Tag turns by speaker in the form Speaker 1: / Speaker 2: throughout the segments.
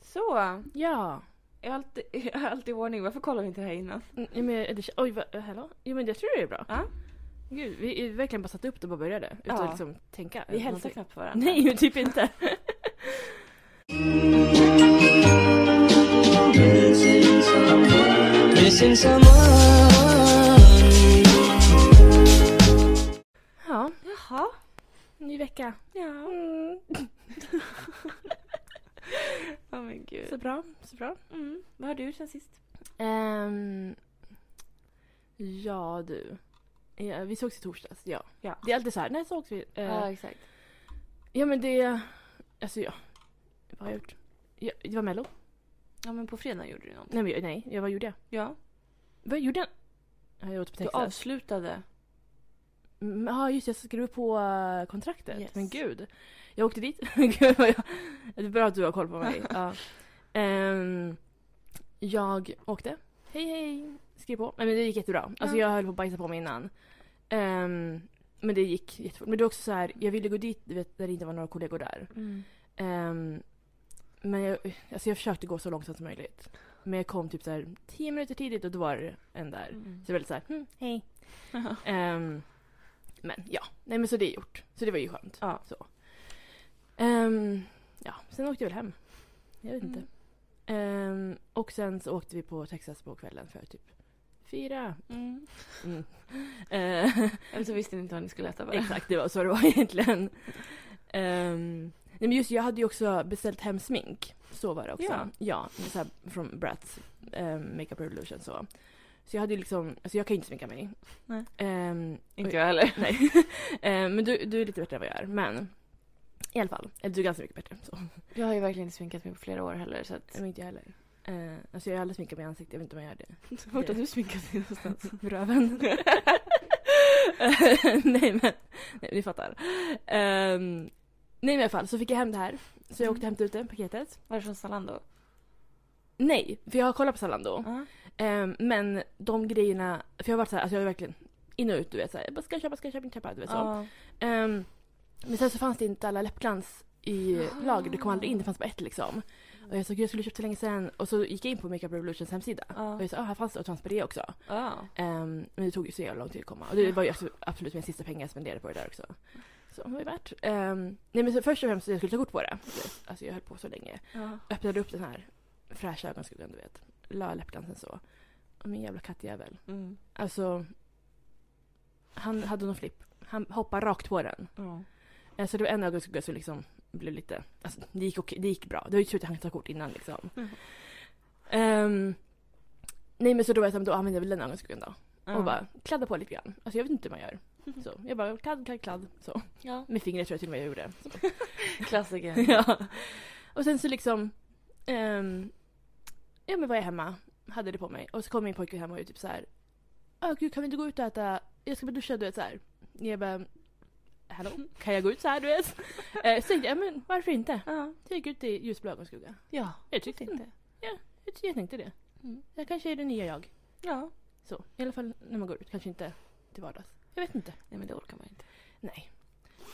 Speaker 1: Så,
Speaker 2: Ja.
Speaker 1: jag har alltid, jag har alltid ordning. Varför kollar vi inte det här innan?
Speaker 2: Mm, ja, men, det, oj, vad, eh, hallå? Jo men jag tror det är bra.
Speaker 1: Ja.
Speaker 2: Gud, vi är verkligen bara satte upp det och bara började. Utan
Speaker 1: Ja.
Speaker 2: att liksom tänka.
Speaker 1: Vi hälsar
Speaker 2: Någonting.
Speaker 1: knappt på varandra.
Speaker 2: Nej, typ inte.
Speaker 3: Missing someone.
Speaker 2: ja,
Speaker 1: Jaha.
Speaker 2: ny vecka.
Speaker 1: Ja.
Speaker 2: Mm.
Speaker 1: Ja men gud.
Speaker 2: Så bra, så bra.
Speaker 1: Mm. Vad har du sen sist?
Speaker 2: Ehm, ja du. Ja, vi sågs i torsdags, ja.
Speaker 1: Ja.
Speaker 2: Det är alltid så här, när sågs vi? Eh,
Speaker 1: exakt.
Speaker 2: Ja men det... Alltså ja. Vad har jag gjort? Ja, det var mello.
Speaker 1: Ja men på fredag gjorde du någonting.
Speaker 2: Nej, men, jag- nej, jag, vad gjorde jag?
Speaker 1: Ja.
Speaker 2: Vad gjorde jag? Ja, jag åt på
Speaker 1: Du
Speaker 2: Texas.
Speaker 1: avslutade.
Speaker 2: Mm, Ja, just det. Jag skrev på eh, kontraktet.
Speaker 1: Yes.
Speaker 2: Men gud. Jag åkte dit. gud vad jag... Det är bra att du har koll på mig. ja. Ehm, jag åkte. Hej hej. Skrev på. Nej, men det gick jättebra. Alltså
Speaker 1: Ja.
Speaker 2: jag höll på att bajsa på mig innan. Ehm, men det gick jättefort. Men det är också så här, jag ville gå dit du vet, där det inte var några kollegor där.
Speaker 1: Mm.
Speaker 2: Ehm, men jag, alltså jag försökte gå så långsamt som möjligt. Men jag kom typ så här tio minuter tidigt och då var det en där.
Speaker 1: Mm.
Speaker 2: Så det var lite så här, hm, hej.
Speaker 1: Ja.
Speaker 2: Ehm, men ja, nej men så det är gjort. Så det var ju skönt.
Speaker 1: Ja.
Speaker 2: Så. Ehm, ja, sen åkte jag väl hem. Jag vet inte.
Speaker 1: Mm.
Speaker 2: Ehm, och sen så åkte vi på Texas på kvällen för typ fyra.
Speaker 1: Mm.
Speaker 2: Mm. Ehm,
Speaker 1: Eller så visste ni inte vad ni skulle äta bara.
Speaker 2: Exakt, det var så det var egentligen. Ehm, nej men just jag hade ju också beställt hem smink. Så var det också.
Speaker 1: Ja.
Speaker 2: ja så här, från Bratz um, Makeup Revolution så. Så jag hade ju liksom, alltså jag kan ju inte sminka mig.
Speaker 1: Nej.
Speaker 2: Ehm,
Speaker 1: Inte jag heller.
Speaker 2: Nej. Eh, men du, du är lite bättre än vad jag är. Men i alla fall. Eller du är ganska mycket bättre. Så.
Speaker 1: Jag har ju verkligen inte sminkat mig på flera år heller så att...
Speaker 2: Men inte jag heller. Eh, alltså jag har aldrig sminkat mig i ansiktet. Jag vet inte om jag gör det.
Speaker 1: Vart har du sminkat dig någonstans?
Speaker 2: Röven. nej men. Nej, ni fattar. Eh, nej men i alla fall så fick jag hem det här. Så jag åkte och hämtade ut det paketet.
Speaker 1: Var det från Zalando?
Speaker 2: Nej, för jag har kollat på Zalando.
Speaker 1: Ja.
Speaker 2: Eh, men de grejerna. För jag har varit så här, alltså jag har verkligen in och ut du vet. Så här, jag bara, ska jag köpa, ska jag köpa, inte köpa. Du vet, så. Ehm, men sen så fanns det inte alla läppglans i
Speaker 1: Ah.
Speaker 2: lager. Det kom aldrig in, det fanns bara ett liksom. Och jag sa gud jag skulle köpt så länge sen. Och så gick jag in på Makeup Revolutions hemsida.
Speaker 1: Ja.
Speaker 2: Och jag sa ah, här fanns det och det fanns på det också.
Speaker 1: Ja.
Speaker 2: Ehm, men det tog ju så jävla lång tid att komma. Och det var ju absolut- absolut min sista pengar jag spenderade på det där också. Så det var ju värt. Ehm, nej men så först och främst så jag skulle ta kort på det. Alltså jag höll på så länge.
Speaker 1: Ja.
Speaker 2: Öppnade upp den här fräscha ögonskuggan du vet. La läppglansen så. Och min jävla kattjävel.
Speaker 1: Mm.
Speaker 2: Alltså. Han hade någon flipp. Han hoppade rakt på den.
Speaker 1: Ja.
Speaker 2: Eh, Så det var en ögonskugga som liksom blev lite... Alltså, det, gick okej, det gick bra. Det var ju tur att jag hann ta kort innan liksom.
Speaker 1: Mm.
Speaker 2: Ehm, nej men så då var jag så här, men då använde jag väl den ögonskuggan då.
Speaker 1: Ja.
Speaker 2: Och bara kladda på lite grann. Alltså jag vet inte hur man gör. Så jag bara kladd, kladd, kladd. Så.
Speaker 1: Ja.
Speaker 2: Med fingret tror jag till och med jag gjorde. Så.
Speaker 1: Klassiker.
Speaker 2: ja. Och sen så liksom... ehm, ja men var jag hemma. Hade det på mig. Och så kom min pojke hem och är typ så här. Åh gud kan vi inte gå ut och äta? Jag ska bara duscha du vet så här. Jag bara... Hallå? Kan jag gå ut så här du vet? Eh, så tänkte jag, men varför inte?
Speaker 1: Ja.
Speaker 2: Så jag gick ut i ljusblå ögonskugga.
Speaker 1: Ja.
Speaker 2: Jag tyckte inte.
Speaker 1: Mm.
Speaker 2: Jag, jag tänkte det.
Speaker 1: Mm.
Speaker 2: Jag kanske är det nya jag.
Speaker 1: Ja.
Speaker 2: Så. I alla fall när man går ut. Kanske inte till vardags. Jag vet inte.
Speaker 1: Nej men det orkar man inte.
Speaker 2: Nej.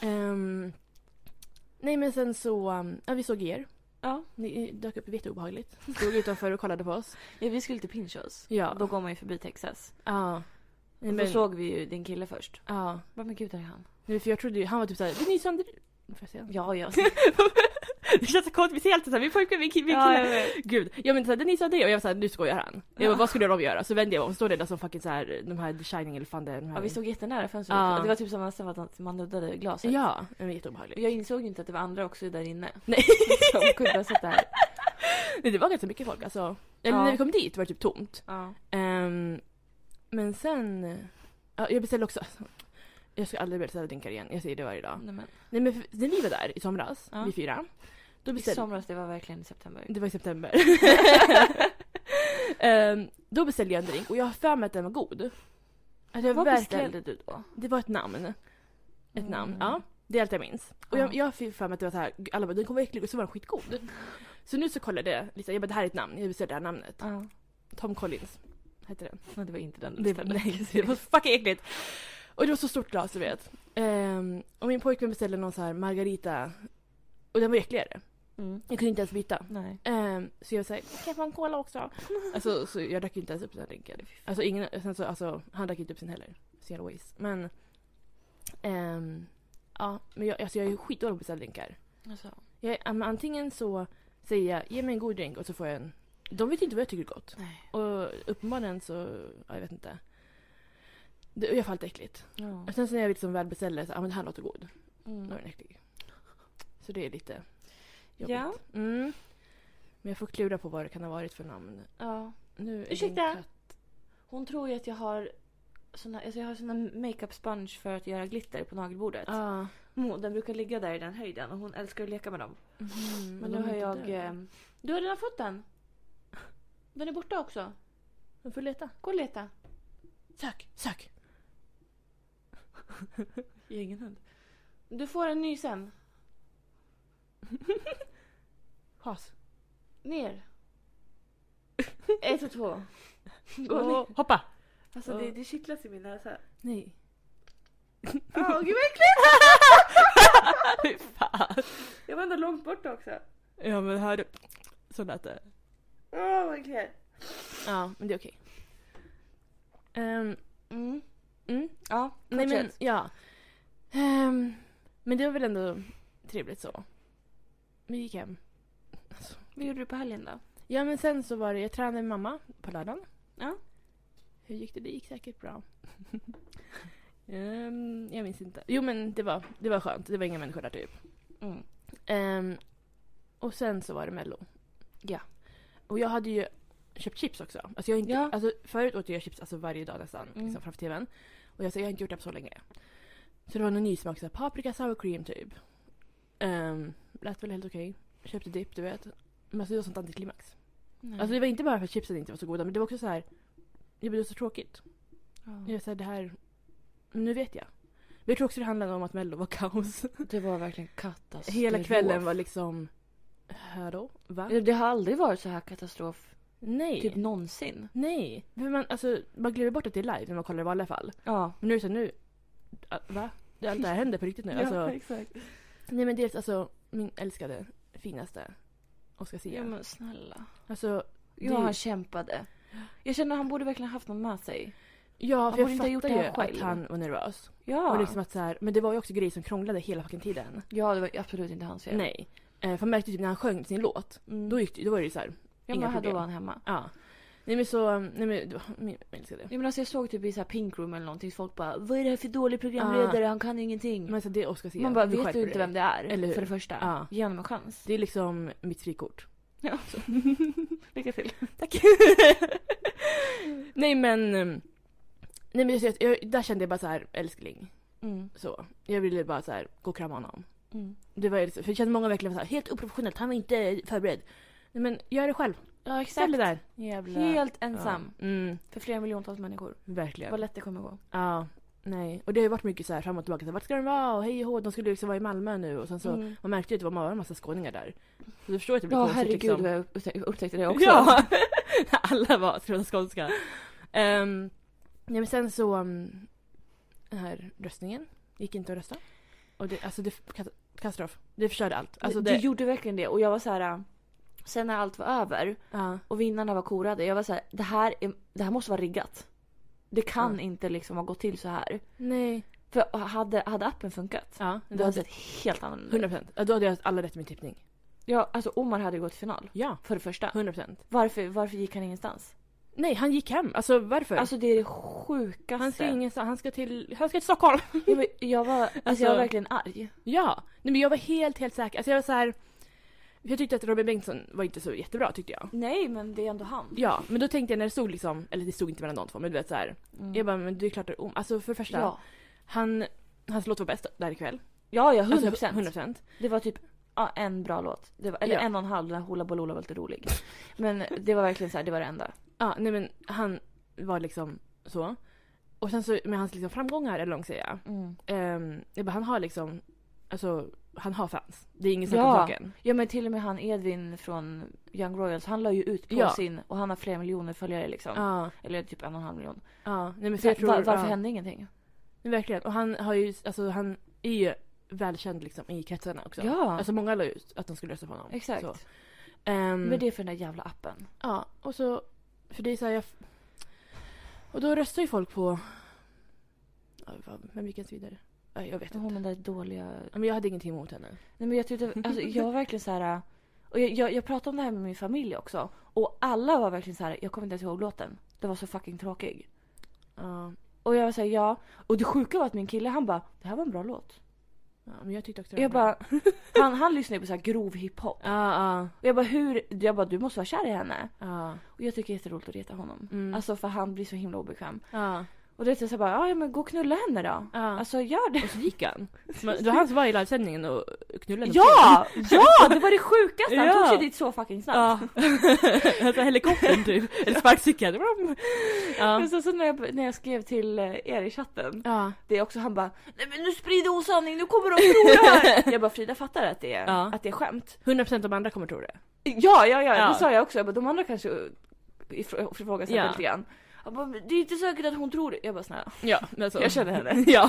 Speaker 2: Ehm, nej men sen så, um, ja vi såg er.
Speaker 1: Ja.
Speaker 2: Ni dök upp jätteobehagligt. Stod utanför och kollade på oss.
Speaker 1: ja vi skulle till Pinchos.
Speaker 2: Ja.
Speaker 1: Då går man ju förbi Texas.
Speaker 2: Ja. Nej,
Speaker 1: Och
Speaker 2: men,
Speaker 1: Då såg vi ju din kille först.
Speaker 2: ja.
Speaker 1: Vad men gud, där är han?
Speaker 2: Nej, för jag trodde ju, han var typ såhär, det är ni som... dri-" Får jag säga?
Speaker 1: Ja, jag
Speaker 2: Det känns så konstigt, vi ser alltid såhär, min pojkve, min kille. Gud, jag men såhär, Denise hade det och jag var såhär, nu skojar han. Jag bara,
Speaker 1: Ja.
Speaker 2: vad skulle de göra? Så vände jag mig om, och står det där som fucking såhär, de här The Shining eller fan det är, de här...
Speaker 1: Ja, vi stod jättenära fönstret.
Speaker 2: Ja.
Speaker 1: Det var typ som nästan att man nuddade glaset.
Speaker 2: Ja, men
Speaker 1: Och
Speaker 2: jätteobehagligt.
Speaker 1: Jag insåg ju inte att det var andra också där inne.
Speaker 2: Nej.
Speaker 1: Som kunde ha sett det här.
Speaker 2: Nej, det var ganska mycket folk alltså. Eller
Speaker 1: Ja.
Speaker 2: när vi kom dit var det typ tomt.
Speaker 1: Ja.
Speaker 2: Ehm, men sen... Ja, jag beställde också... alltså, Jag ska aldrig beställa drinkar igen, jag säger det varje dag.
Speaker 1: Nej, men,
Speaker 2: Nej men för- när vi var där i somras,
Speaker 1: Ja.
Speaker 2: vi fyra. Då
Speaker 1: I
Speaker 2: beställde...
Speaker 1: somras, det var verkligen i september.
Speaker 2: Det var i september. Ehm, då beställde jag en drink och jag har för mig att den var god. Att jag
Speaker 1: Vad
Speaker 2: verkligen...
Speaker 1: beställde du då?
Speaker 2: Det var ett namn. Ett
Speaker 1: Mm.
Speaker 2: namn, ja. Det är allt jag minns. Och jag,
Speaker 1: Ja.
Speaker 2: jag fick för mig att det var så här, alla bara den kommer vara äcklig och så var den skitgod. Så nu så kollade jag, liksom, jag bara det här är ett namn, jag beställde det här namnet.
Speaker 1: Ja.
Speaker 2: Tom Collins hette den.
Speaker 1: Nej, det var inte den du
Speaker 2: Det,
Speaker 1: beställde.
Speaker 2: nej, det var fucking äckligt. Och det var så stort glas du vet. Ehm, och min pojkvän beställde någon så här margarita. Och den var äckligare.
Speaker 1: Mm.
Speaker 2: Jag kunde inte ens byta.
Speaker 1: Nej.
Speaker 2: Ehm, så jag var såhär, kan jag få en cola också? alltså, så jag drack ju inte ens upp den här drinken. Alltså, ingen, sen så, alltså, han drack inte upp sin heller. Så jävla waste. Men... ehm, ja, men jag, alltså, jag är ju skitdålig på att beställa drinkar.
Speaker 1: Alltså.
Speaker 2: Jag, ja, men antingen så säger jag, ge mig en god drink och så får jag en... De vet inte vad jag tycker är gott.
Speaker 1: Nej.
Speaker 2: Och uppenbarligen så, ja, jag vet inte. Det, jag får allt äckligt.
Speaker 1: Ja.
Speaker 2: Och sen så när jag liksom väl beställer så, ja men det här låter god. Då är
Speaker 1: Mm.
Speaker 2: den äcklig. Så det är lite jobbigt.
Speaker 1: Ja.
Speaker 2: Mm. Men jag får klura på vad det kan ha varit för namn.
Speaker 1: ja.
Speaker 2: Nu är det en
Speaker 1: Ursäkta?
Speaker 2: katt.
Speaker 1: Hon tror ju att jag har såna, alltså jag har såna makeup sponge för att göra glitter på nagelbordet.
Speaker 2: Ja.
Speaker 1: Mo, Den brukar ligga där i den höjden och hon älskar att leka med dem.
Speaker 2: Mhm,
Speaker 1: Men
Speaker 2: de
Speaker 1: nu har
Speaker 2: är inte
Speaker 1: jag...
Speaker 2: där.
Speaker 1: Eh, du har redan fått den. Den är borta också.
Speaker 2: Du får leta.
Speaker 1: Gå och leta.
Speaker 2: Sök, sök.
Speaker 1: Jag har ingen hund. Du får en ny sen.
Speaker 2: Has.
Speaker 1: Ner. Ett och två. Gå
Speaker 2: Åh,
Speaker 1: ner.
Speaker 2: hoppa.
Speaker 1: Alltså det, det kittlas i min näsa.
Speaker 2: Nej.
Speaker 1: Åh gud vad
Speaker 2: Fy fan.
Speaker 1: äckligt! Jag var ändå långt borta också.
Speaker 2: Ja men hör du. Så lät det.
Speaker 1: Åh vad äckligt.
Speaker 2: Ja, men det är okej. Ehm,
Speaker 1: Mm.
Speaker 2: mm.
Speaker 1: Ja,
Speaker 2: Nej men,
Speaker 1: fortsätt.
Speaker 2: ja. Ehm, men det var väl ändå trevligt så. Vi gick hem. Alltså.
Speaker 1: Vad gjorde du på helgen då?
Speaker 2: Ja men sen så var det, jag tränade med mamma på lördagen.
Speaker 1: Ja.
Speaker 2: Hur gick det? Det gick säkert bra. Ehm, jag minns inte. Jo men det var, det var skönt, det var inga människor där typ.
Speaker 1: Mm.
Speaker 2: Ehm, och sen så var det mello.
Speaker 1: Ja.
Speaker 2: Och jag hade ju köpt chips också. Alltså jag har inte,
Speaker 1: Ja.
Speaker 2: alltså förut åt jag chips alltså varje dag nästan
Speaker 1: Mm.
Speaker 2: liksom framför tvn. Och jag, så, jag har inte gjort det på så länge. Så det var någon ny smak, så här, paprika sour cream typ. Um, lät väl helt okej. Köpte dipp, du vet. Men alltså det var sånt antiklimax.
Speaker 1: Nej.
Speaker 2: Alltså det var inte bara för att chipsen inte var så goda men det var också så här. Det blev så tråkigt.
Speaker 1: Ja.
Speaker 2: Jag sa det här. Nu vet jag. Men jag tror också det handlade om att mello var kaos.
Speaker 1: Det var verkligen katastrof.
Speaker 2: Hela kvällen var liksom... Hörå? Va?
Speaker 1: Det har aldrig varit så här katastrof.
Speaker 2: Nej.
Speaker 1: Typ någonsin.
Speaker 2: Nej. För man, alltså, man glömmer bort att det är live när man kollar i vanliga fall.
Speaker 1: Ja.
Speaker 2: Men nu är det så här, nu... ah, Va? Det- Allt det här händer på riktigt nu. Alltså,
Speaker 1: exakt.
Speaker 2: nej men dels alltså min älskade, finaste Oscar Zia.
Speaker 1: Ja, men snälla.
Speaker 2: Alltså,
Speaker 1: Ja,
Speaker 2: Det-
Speaker 1: han kämpade. Jag känner att han borde verkligen haft någon med sig.
Speaker 2: ja, för
Speaker 1: borde
Speaker 2: jag
Speaker 1: inte ha
Speaker 2: fattar
Speaker 1: gjort det
Speaker 2: ju
Speaker 1: här
Speaker 2: att
Speaker 1: själv.
Speaker 2: han var nervös.
Speaker 1: Ja.
Speaker 2: Och liksom att så här, men det var ju också grejer som krånglade hela fucking tiden.
Speaker 1: ja, det var absolut inte hans fel.
Speaker 2: Nej. Eh, för man märkte ju typ när han sjöng sin låt,
Speaker 1: Mm.
Speaker 2: då, gick, det- då var det ju så här,
Speaker 1: ja,
Speaker 2: inga
Speaker 1: men här, då
Speaker 2: problem.
Speaker 1: var han hemma.
Speaker 2: ja. Nej men så, nej men, det var min min älskade.
Speaker 1: Jag, menar, alltså, jag såg typ i så här Pink Room eller någonting, folk bara Vad är det här för dålig programledare? Han kan ju ingenting.
Speaker 2: Ah. Men så det är Oscar Zia.
Speaker 1: Man bara,
Speaker 2: Nu
Speaker 1: vet
Speaker 2: skärper
Speaker 1: du inte
Speaker 2: dig.
Speaker 1: vem det är?
Speaker 2: Eller hur?
Speaker 1: För det första.
Speaker 2: Ja.
Speaker 1: Ge honom en chans.
Speaker 2: Det är liksom mitt frikort.
Speaker 1: Ja. Lycka till.
Speaker 2: Tack. nej men, ehm, nej men jag, jag, jag, där kände jag bara så här älskling.
Speaker 1: Mm.
Speaker 2: Så. Jag ville bara så här gå och krama honom.
Speaker 1: Mm.
Speaker 2: Det var ju liksom, för jag kände många verkligen var så här, helt oprofessionellt, han var inte förberedd. Nej men gör det själv.
Speaker 1: Ja,
Speaker 2: Ställ
Speaker 1: exakt.
Speaker 2: dig där.
Speaker 1: Jävla... Helt ensam.
Speaker 2: Ja. Mm,
Speaker 1: För flera miljontals människor.
Speaker 2: verkligen.
Speaker 1: Vad lätt det kommer gå.
Speaker 2: Ja, nej. Och det har ju varit mycket så här fram och tillbaka. Så här, vart ska den vara? Och hej och hå. De skulle ju liksom vara i Malmö nu och sen så.
Speaker 1: Mm.
Speaker 2: Man märkte ju att det var bara en massa skåningar där. Så du förstår att det blev
Speaker 1: Ja,
Speaker 2: konstigt
Speaker 1: herregud
Speaker 2: liksom.
Speaker 1: vad jag upptä- upptäckte det också.
Speaker 2: Ja! Alla var skrådda skånska. Um, nej men sen så. Um, den här röstningen gick inte att rösta. Och det, alltså det, kat- katastrof. Det förstörde allt. Alltså
Speaker 1: Du
Speaker 2: det,
Speaker 1: gjorde verkligen det och jag var så här. äh, Sen när allt var över
Speaker 2: ja.
Speaker 1: och vinnarna var korade, jag var så här, det här, är, det här måste vara riggat. Det kan
Speaker 2: Mm.
Speaker 1: inte liksom ha gått till så här.
Speaker 2: Nej.
Speaker 1: För hade, hade appen funkat,
Speaker 2: Ja,
Speaker 1: det hade sett helt annorlunda
Speaker 2: 100
Speaker 1: ut.
Speaker 2: procent. Då hade jag alla rätt i min tippning.
Speaker 1: Ja, alltså Omar hade gått till final.
Speaker 2: Ja,
Speaker 1: För det första.
Speaker 2: 100 procent.
Speaker 1: Varför, varför gick han ingenstans?
Speaker 2: Nej, han gick hem. Alltså varför?
Speaker 1: Alltså det är det sjukaste.
Speaker 2: han ska ingenstans. Han ska till, han ska till Stockholm.
Speaker 1: jag, var, jag, var, alltså,
Speaker 2: Alltså-
Speaker 1: jag var verkligen arg.
Speaker 2: Ja, nej men jag var helt, helt säker. Alltså jag var så här. Jag tyckte att Robin Bengtsson var inte så jättebra tyckte jag.
Speaker 1: Nej, men det är ändå han.
Speaker 2: Ja, men då tänkte jag när det stod liksom, eller det stod inte mellan de två, men du vet så här.
Speaker 1: Mm.
Speaker 2: Jag bara, men det är klart det är om. Alltså för det första,
Speaker 1: ja.
Speaker 2: han, hans låt var bäst där ikväll.
Speaker 1: ja, ja, 100%.
Speaker 2: Alltså, 100%.
Speaker 1: Det var typ ja, en bra låt. Det var, eller
Speaker 2: Ja.
Speaker 1: en och en halv, den här Hoola Baloola var lite rolig. Men det var verkligen så här, det var det enda.
Speaker 2: Ja, nej men han var liksom så. Och sen så med hans liksom framgångar, eller vad man ska säga. Um, jag bara, han har liksom, alltså han har fans. Det är ingen sak om
Speaker 1: Ja.
Speaker 2: saken.
Speaker 1: Ja men till och med han Edvin från Young Royals, han la ju ut på
Speaker 2: Ja.
Speaker 1: sin och han har flera miljoner följare liksom.
Speaker 2: Ja,
Speaker 1: Eller typ en och en halv miljon.
Speaker 2: ja. Nej men för
Speaker 1: Så
Speaker 2: jag tror,
Speaker 1: var, varför
Speaker 2: ja.
Speaker 1: hände ingenting?
Speaker 2: Men Verkligen. Och han har ju, alltså han är ju välkänd liksom, i kretsarna också.
Speaker 1: Ja.
Speaker 2: Alltså många la ut att de skulle rösta på honom.
Speaker 1: Exakt.
Speaker 2: Så. Ehm,
Speaker 1: Men det är för den där jävla appen.
Speaker 2: Ja, och så... För det är så här, jag... f- Och då röstar ju folk på... Ja, vad- Vem gick ens vidare? Ja, Jag vet inte.
Speaker 1: Hon den där dåliga...
Speaker 2: Ja, Men jag hade ingenting emot henne.
Speaker 1: Nej men jag tyckte, alltså jag var verkligen så här. Och jag, jag, jag pratade om det här med min familj också. Och alla var verkligen så här. jag kommer inte ens ihåg låten. Det var så fucking tråkig.
Speaker 2: Ja,
Speaker 1: Och jag var såhär, ja. Och det sjuka var att min kille han bara, det här var en bra låt.
Speaker 2: ja, men jag tyckte också
Speaker 1: Och jag
Speaker 2: var bra.
Speaker 1: bara, han, han lyssnar ju på så här grov hiphop.
Speaker 2: Ja, ja,
Speaker 1: Och jag bara, hur? Jag bara, du måste vara kär i henne.
Speaker 2: ja.
Speaker 1: Och jag tycker det är jätteroligt att reta honom.
Speaker 2: Mm.
Speaker 1: Alltså för han blir så himla obekväm.
Speaker 2: ja,
Speaker 1: Och det är såhär bara, ja ja, men gå och knulla henne då.
Speaker 2: ja.
Speaker 1: Alltså gör det.
Speaker 2: Och så gick han. Men det var han som var i livesändningen och knullade på
Speaker 1: Ja! Ja! Det var det sjukaste! Han tog
Speaker 2: Ja.
Speaker 1: sig dit så fucking snabbt.
Speaker 2: Ja. alltså helikoptern typ. Eller sparkcykeln. ja.
Speaker 1: Men sen så när jag, när jag skrev till eh, er i chatten,
Speaker 2: Ja.
Speaker 1: det är också han bara Nej men nu sprider osanning, nu kommer de tro det här! jag bara Frida fattar att det är,
Speaker 2: Ja.
Speaker 1: att det är skämt.
Speaker 2: 100% av de andra kommer tro det.
Speaker 1: Ja, ja, ja,
Speaker 2: Ja.
Speaker 1: det sa jag också. Jag bara, de andra kanske eh, ifrå- ifrågasätter
Speaker 2: Ja.
Speaker 1: lite grann. Jag bara, men det är inte säkert att hon tror det. Jag bara snälla.
Speaker 2: Ja, men alltså.
Speaker 1: Jag känner henne.
Speaker 2: ja.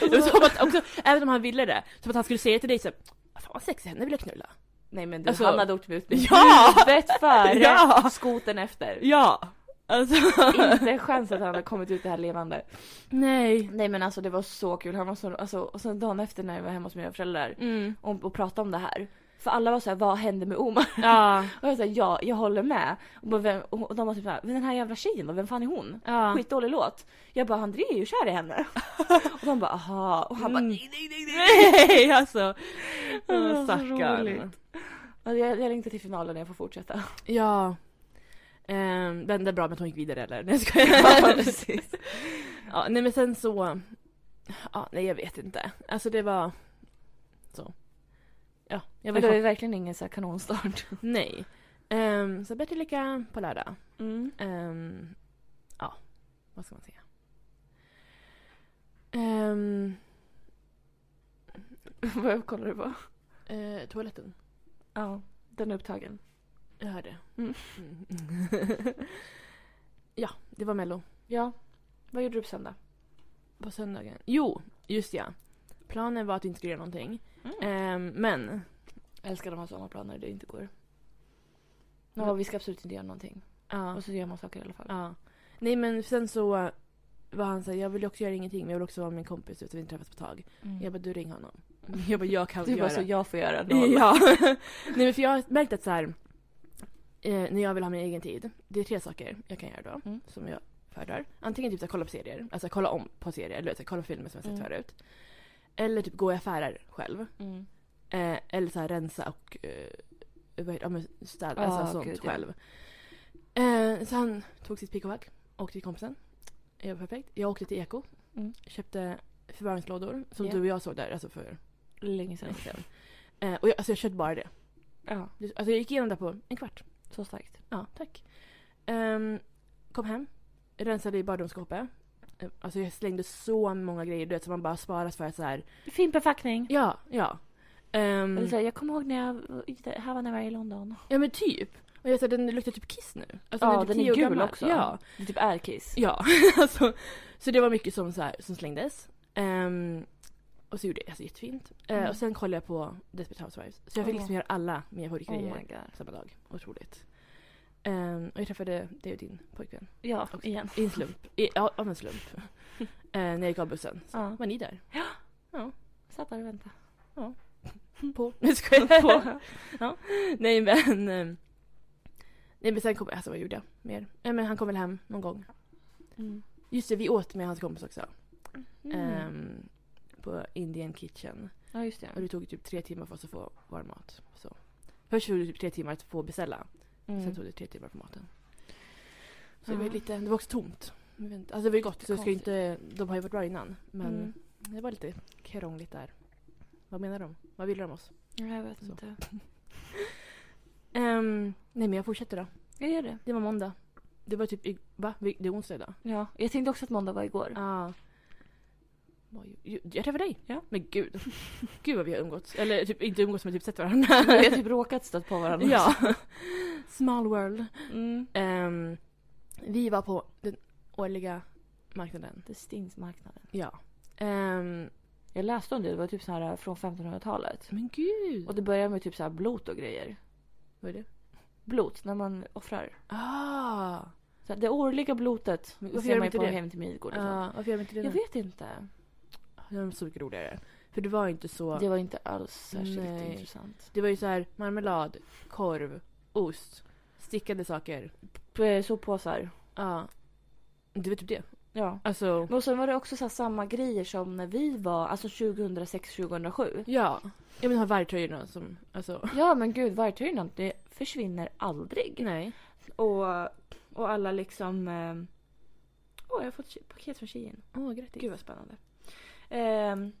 Speaker 2: Det var som att också, även om han ville det, som att han skulle säga till dig så här, Fan vad sexig henne vill jag knulla.
Speaker 1: Nej men du,
Speaker 2: Alltså-
Speaker 1: han hade åkt med utbildning.
Speaker 2: Ja!
Speaker 1: Huvudet före,
Speaker 2: Ja!
Speaker 1: skoten efter.
Speaker 2: Ja! Alltså.
Speaker 1: Inte en chans att han hade kommit ut det här levande.
Speaker 2: Nej.
Speaker 1: Nej men alltså det var så kul. Han var så, alltså, och sen dagen efter när jag var hemma hos mina föräldrar
Speaker 2: Mm.
Speaker 1: och, och pratade om det här. För alla var så här, vad hände med Omar?
Speaker 2: Ja.
Speaker 1: Och jag sa ja, jag håller med. Och, bara, vem, och de var typ såhär, men den här jävla tjejen då, vem fan är hon?
Speaker 2: ja.
Speaker 1: Skitdålig låt. Jag bara, han är ju kär i henne. och de bara, aha. Och han bara,
Speaker 2: Mm.
Speaker 1: nej nej nej nej.
Speaker 2: Nej alltså.
Speaker 1: Ah, så
Speaker 2: Stackarn.
Speaker 1: roligt. Och jag, jag längtar till finalen när jag får fortsätta.
Speaker 2: Ja. Um, det är bra med att hon gick vidare eller? Nej jag
Speaker 1: Ja,
Speaker 2: skojar.
Speaker 1: precis.
Speaker 2: Ja, nej men sen så... Ja, nej jag vet inte. Alltså det var... Så. Ja, jag var
Speaker 1: Men det var
Speaker 2: chock-
Speaker 1: ju verkligen ingen så här kanonstart.
Speaker 2: Nej. Ehm, så bättre lycka på lördag.
Speaker 1: Mm.
Speaker 2: Ehm, ja, vad ska man säga? Ehm,
Speaker 1: Vad kollar du på?
Speaker 2: eh, toaletten.
Speaker 1: Ja, den är upptagen.
Speaker 2: Jag hörde.
Speaker 1: Mm.
Speaker 2: Mm. ja, det var Mello.
Speaker 1: Ja. Vad gjorde du på söndag?
Speaker 2: På söndagen. Jo, just ja. Planen var att vi inte skulle göra någonting. Ehm, men...
Speaker 1: Jag älskar de här sådana planer det inte går. Ja,
Speaker 2: Ja,
Speaker 1: vi ska absolut inte göra någonting.
Speaker 2: Mm. Ja.
Speaker 1: Och så gör man saker i alla fall.
Speaker 2: Ja. Nej men sen så var han såhär, jag vill ju också göra ingenting men jag vill också vara med min kompis utan vi inte träffats på ett tag. Jag bara, du ring honom. Mm. Jag bara, jag kan
Speaker 1: Du
Speaker 2: göra.
Speaker 1: bara, så jag får göra noll.
Speaker 2: Ja. Nej men för jag har märkt att såhär, eh, när jag vill ha min egen tid, det är tre saker jag kan göra då
Speaker 1: Mm.
Speaker 2: som jag föredrar. Antingen typ såhär, kolla på serier, alltså kolla om på serier, eller såhär, kolla på filmer som jag sett
Speaker 1: Mm.
Speaker 2: förut. Eller typ gå i affärer själv.
Speaker 1: Mm.
Speaker 2: Eh, eller så här rensa och eh, vad heter- ja, men städa,
Speaker 1: Ja,
Speaker 2: alltså sånt
Speaker 1: Ah, gud, ja.
Speaker 2: själv. Eh, så han tog sitt pick och pack, åkte till kompisen. Jag var perfekt. Jag åkte till Eko,
Speaker 1: Mm.
Speaker 2: köpte förvaringslådor som
Speaker 1: Ja.
Speaker 2: du och jag såg där alltså för
Speaker 1: Länge sedan.
Speaker 2: länge sedan. Eh, och jag, alltså jag köpte bara det.
Speaker 1: Ja,
Speaker 2: Det- Alltså jag gick igenom det på en kvart.
Speaker 1: så starkt.
Speaker 2: Ja, tack. Ehm, kom hem, rensade i badrumsskåpet. Eh, Alltså jag slängde så många grejer du vet, som man bara sparas för att så här.
Speaker 1: Fin förpackning.
Speaker 2: Ja, ja. Ehm,
Speaker 1: Eller så här, Jag kommer ihåg när jag, här var när jag var i London.
Speaker 2: Ja men typ. Och jag sa den luktar typ kiss nu. Alltså,
Speaker 1: Ja,
Speaker 2: typ
Speaker 1: den
Speaker 2: 10
Speaker 1: är
Speaker 2: år
Speaker 1: gul
Speaker 2: gammal.
Speaker 1: också.
Speaker 2: Ja.
Speaker 1: Det typ är Kiss.
Speaker 2: ja. alltså, så det var mycket som, så här, som slängdes. Ehm, och så gjorde jag alltså, jättefint. Eh,
Speaker 1: Mm.
Speaker 2: och sen kollade jag på Desperate Housewives. Så jag fick
Speaker 1: Åh.
Speaker 2: liksom göra alla mina
Speaker 1: Oh
Speaker 2: favoritgrejer
Speaker 1: my god.
Speaker 2: samma dag. Otroligt. Ehm, och jag träffade dig och din pojkvän.
Speaker 1: Ja,
Speaker 2: Också.
Speaker 1: igen.
Speaker 2: I en slump. I, ja, av en slump. Eh, när jag gick av bussen. Så
Speaker 1: Ja.
Speaker 2: var ni där.
Speaker 1: Satt där och väntade. Mm.
Speaker 2: På. Nej, skojar jag på. ja. Nej men. ehm, Nej men sen kom, alltså vad gjorde jag mer? Nej men han kom väl hem någon gång.
Speaker 1: Mm.
Speaker 2: Just det, vi åt med hans kompis också.
Speaker 1: Mm.
Speaker 2: Ehm, på Indian Kitchen.
Speaker 1: Ja, just
Speaker 2: Och
Speaker 1: det.
Speaker 2: det tog typ tre timmar för oss att få vår mat. Så. Först tog det typ tre timmar att få beställa. Sen
Speaker 1: Mm.
Speaker 2: tog det tre timmar för maten. Så det,
Speaker 1: Ja.
Speaker 2: var lite, det var också tomt. Men vi vet inte- Alltså det var ju gott, så jag ska ju
Speaker 1: Konstigt.
Speaker 2: inte, de har ju varit bra innan. Men
Speaker 1: Mm.
Speaker 2: det var lite krångligt där. Vad menar de? Vad vill de av oss?
Speaker 1: Nej, Jag vet
Speaker 2: Så.
Speaker 1: inte.
Speaker 2: Ehm, nej men jag fortsätter då.
Speaker 1: Jag gör det.
Speaker 2: Det var måndag. Det var typ, i- va? Vi- Det är onsdag idag.
Speaker 1: Ja. Jag tänkte också att måndag var igår.
Speaker 2: Ja. Vad ju- ju- Jag träffade dig.
Speaker 1: Ja.
Speaker 2: Men gud. Gud vad vi har umgåtts. Eller typ inte umgåtts men typ sett varandra.
Speaker 1: Vi har typ råkat stött på varandra.
Speaker 2: ja. Small world.
Speaker 1: Mm.
Speaker 2: Ehm, vi var på den årliga marknaden.
Speaker 1: Det stings marknaden.
Speaker 2: Ja. Ehm,
Speaker 1: Jag läste om det, det var typ så här från 1500-talet.
Speaker 2: Men gud!
Speaker 1: Och det börjar med typ så här blot och grejer.
Speaker 2: vad är det?
Speaker 1: Blot, när man offrar.
Speaker 2: Ah!
Speaker 1: Så här, det årliga blotet
Speaker 2: Men
Speaker 1: det
Speaker 2: varför
Speaker 1: ser
Speaker 2: gör de
Speaker 1: man ju
Speaker 2: inte
Speaker 1: på
Speaker 2: det?
Speaker 1: hem till Midgård. Liksom.
Speaker 2: ah varför gör de inte det
Speaker 1: jag
Speaker 2: nu?
Speaker 1: vet inte.
Speaker 2: Det var så mycket roligare. För det var ju inte så...
Speaker 1: Det var inte alls särskilt
Speaker 2: Nej.
Speaker 1: intressant.
Speaker 2: Det var ju så här marmelad, korv, ost, stickade saker.
Speaker 1: P- eh, Soppåsar.
Speaker 2: Ja. Det var typ det.
Speaker 1: Ja.
Speaker 2: Alltså...
Speaker 1: Men Och sen var det också så här samma grejer som när vi var, alltså 2006-2007.
Speaker 2: Ja. Ja men de här vargtröjorna som... Alltså...
Speaker 1: Ja men gud, vargtröjorna det försvinner aldrig.
Speaker 2: Nej.
Speaker 1: Och, och alla liksom... eh, Åh, jag har fått ki- paket från Shein.
Speaker 2: Åh, oh, grattis.
Speaker 1: Gud vad spännande. Ehm,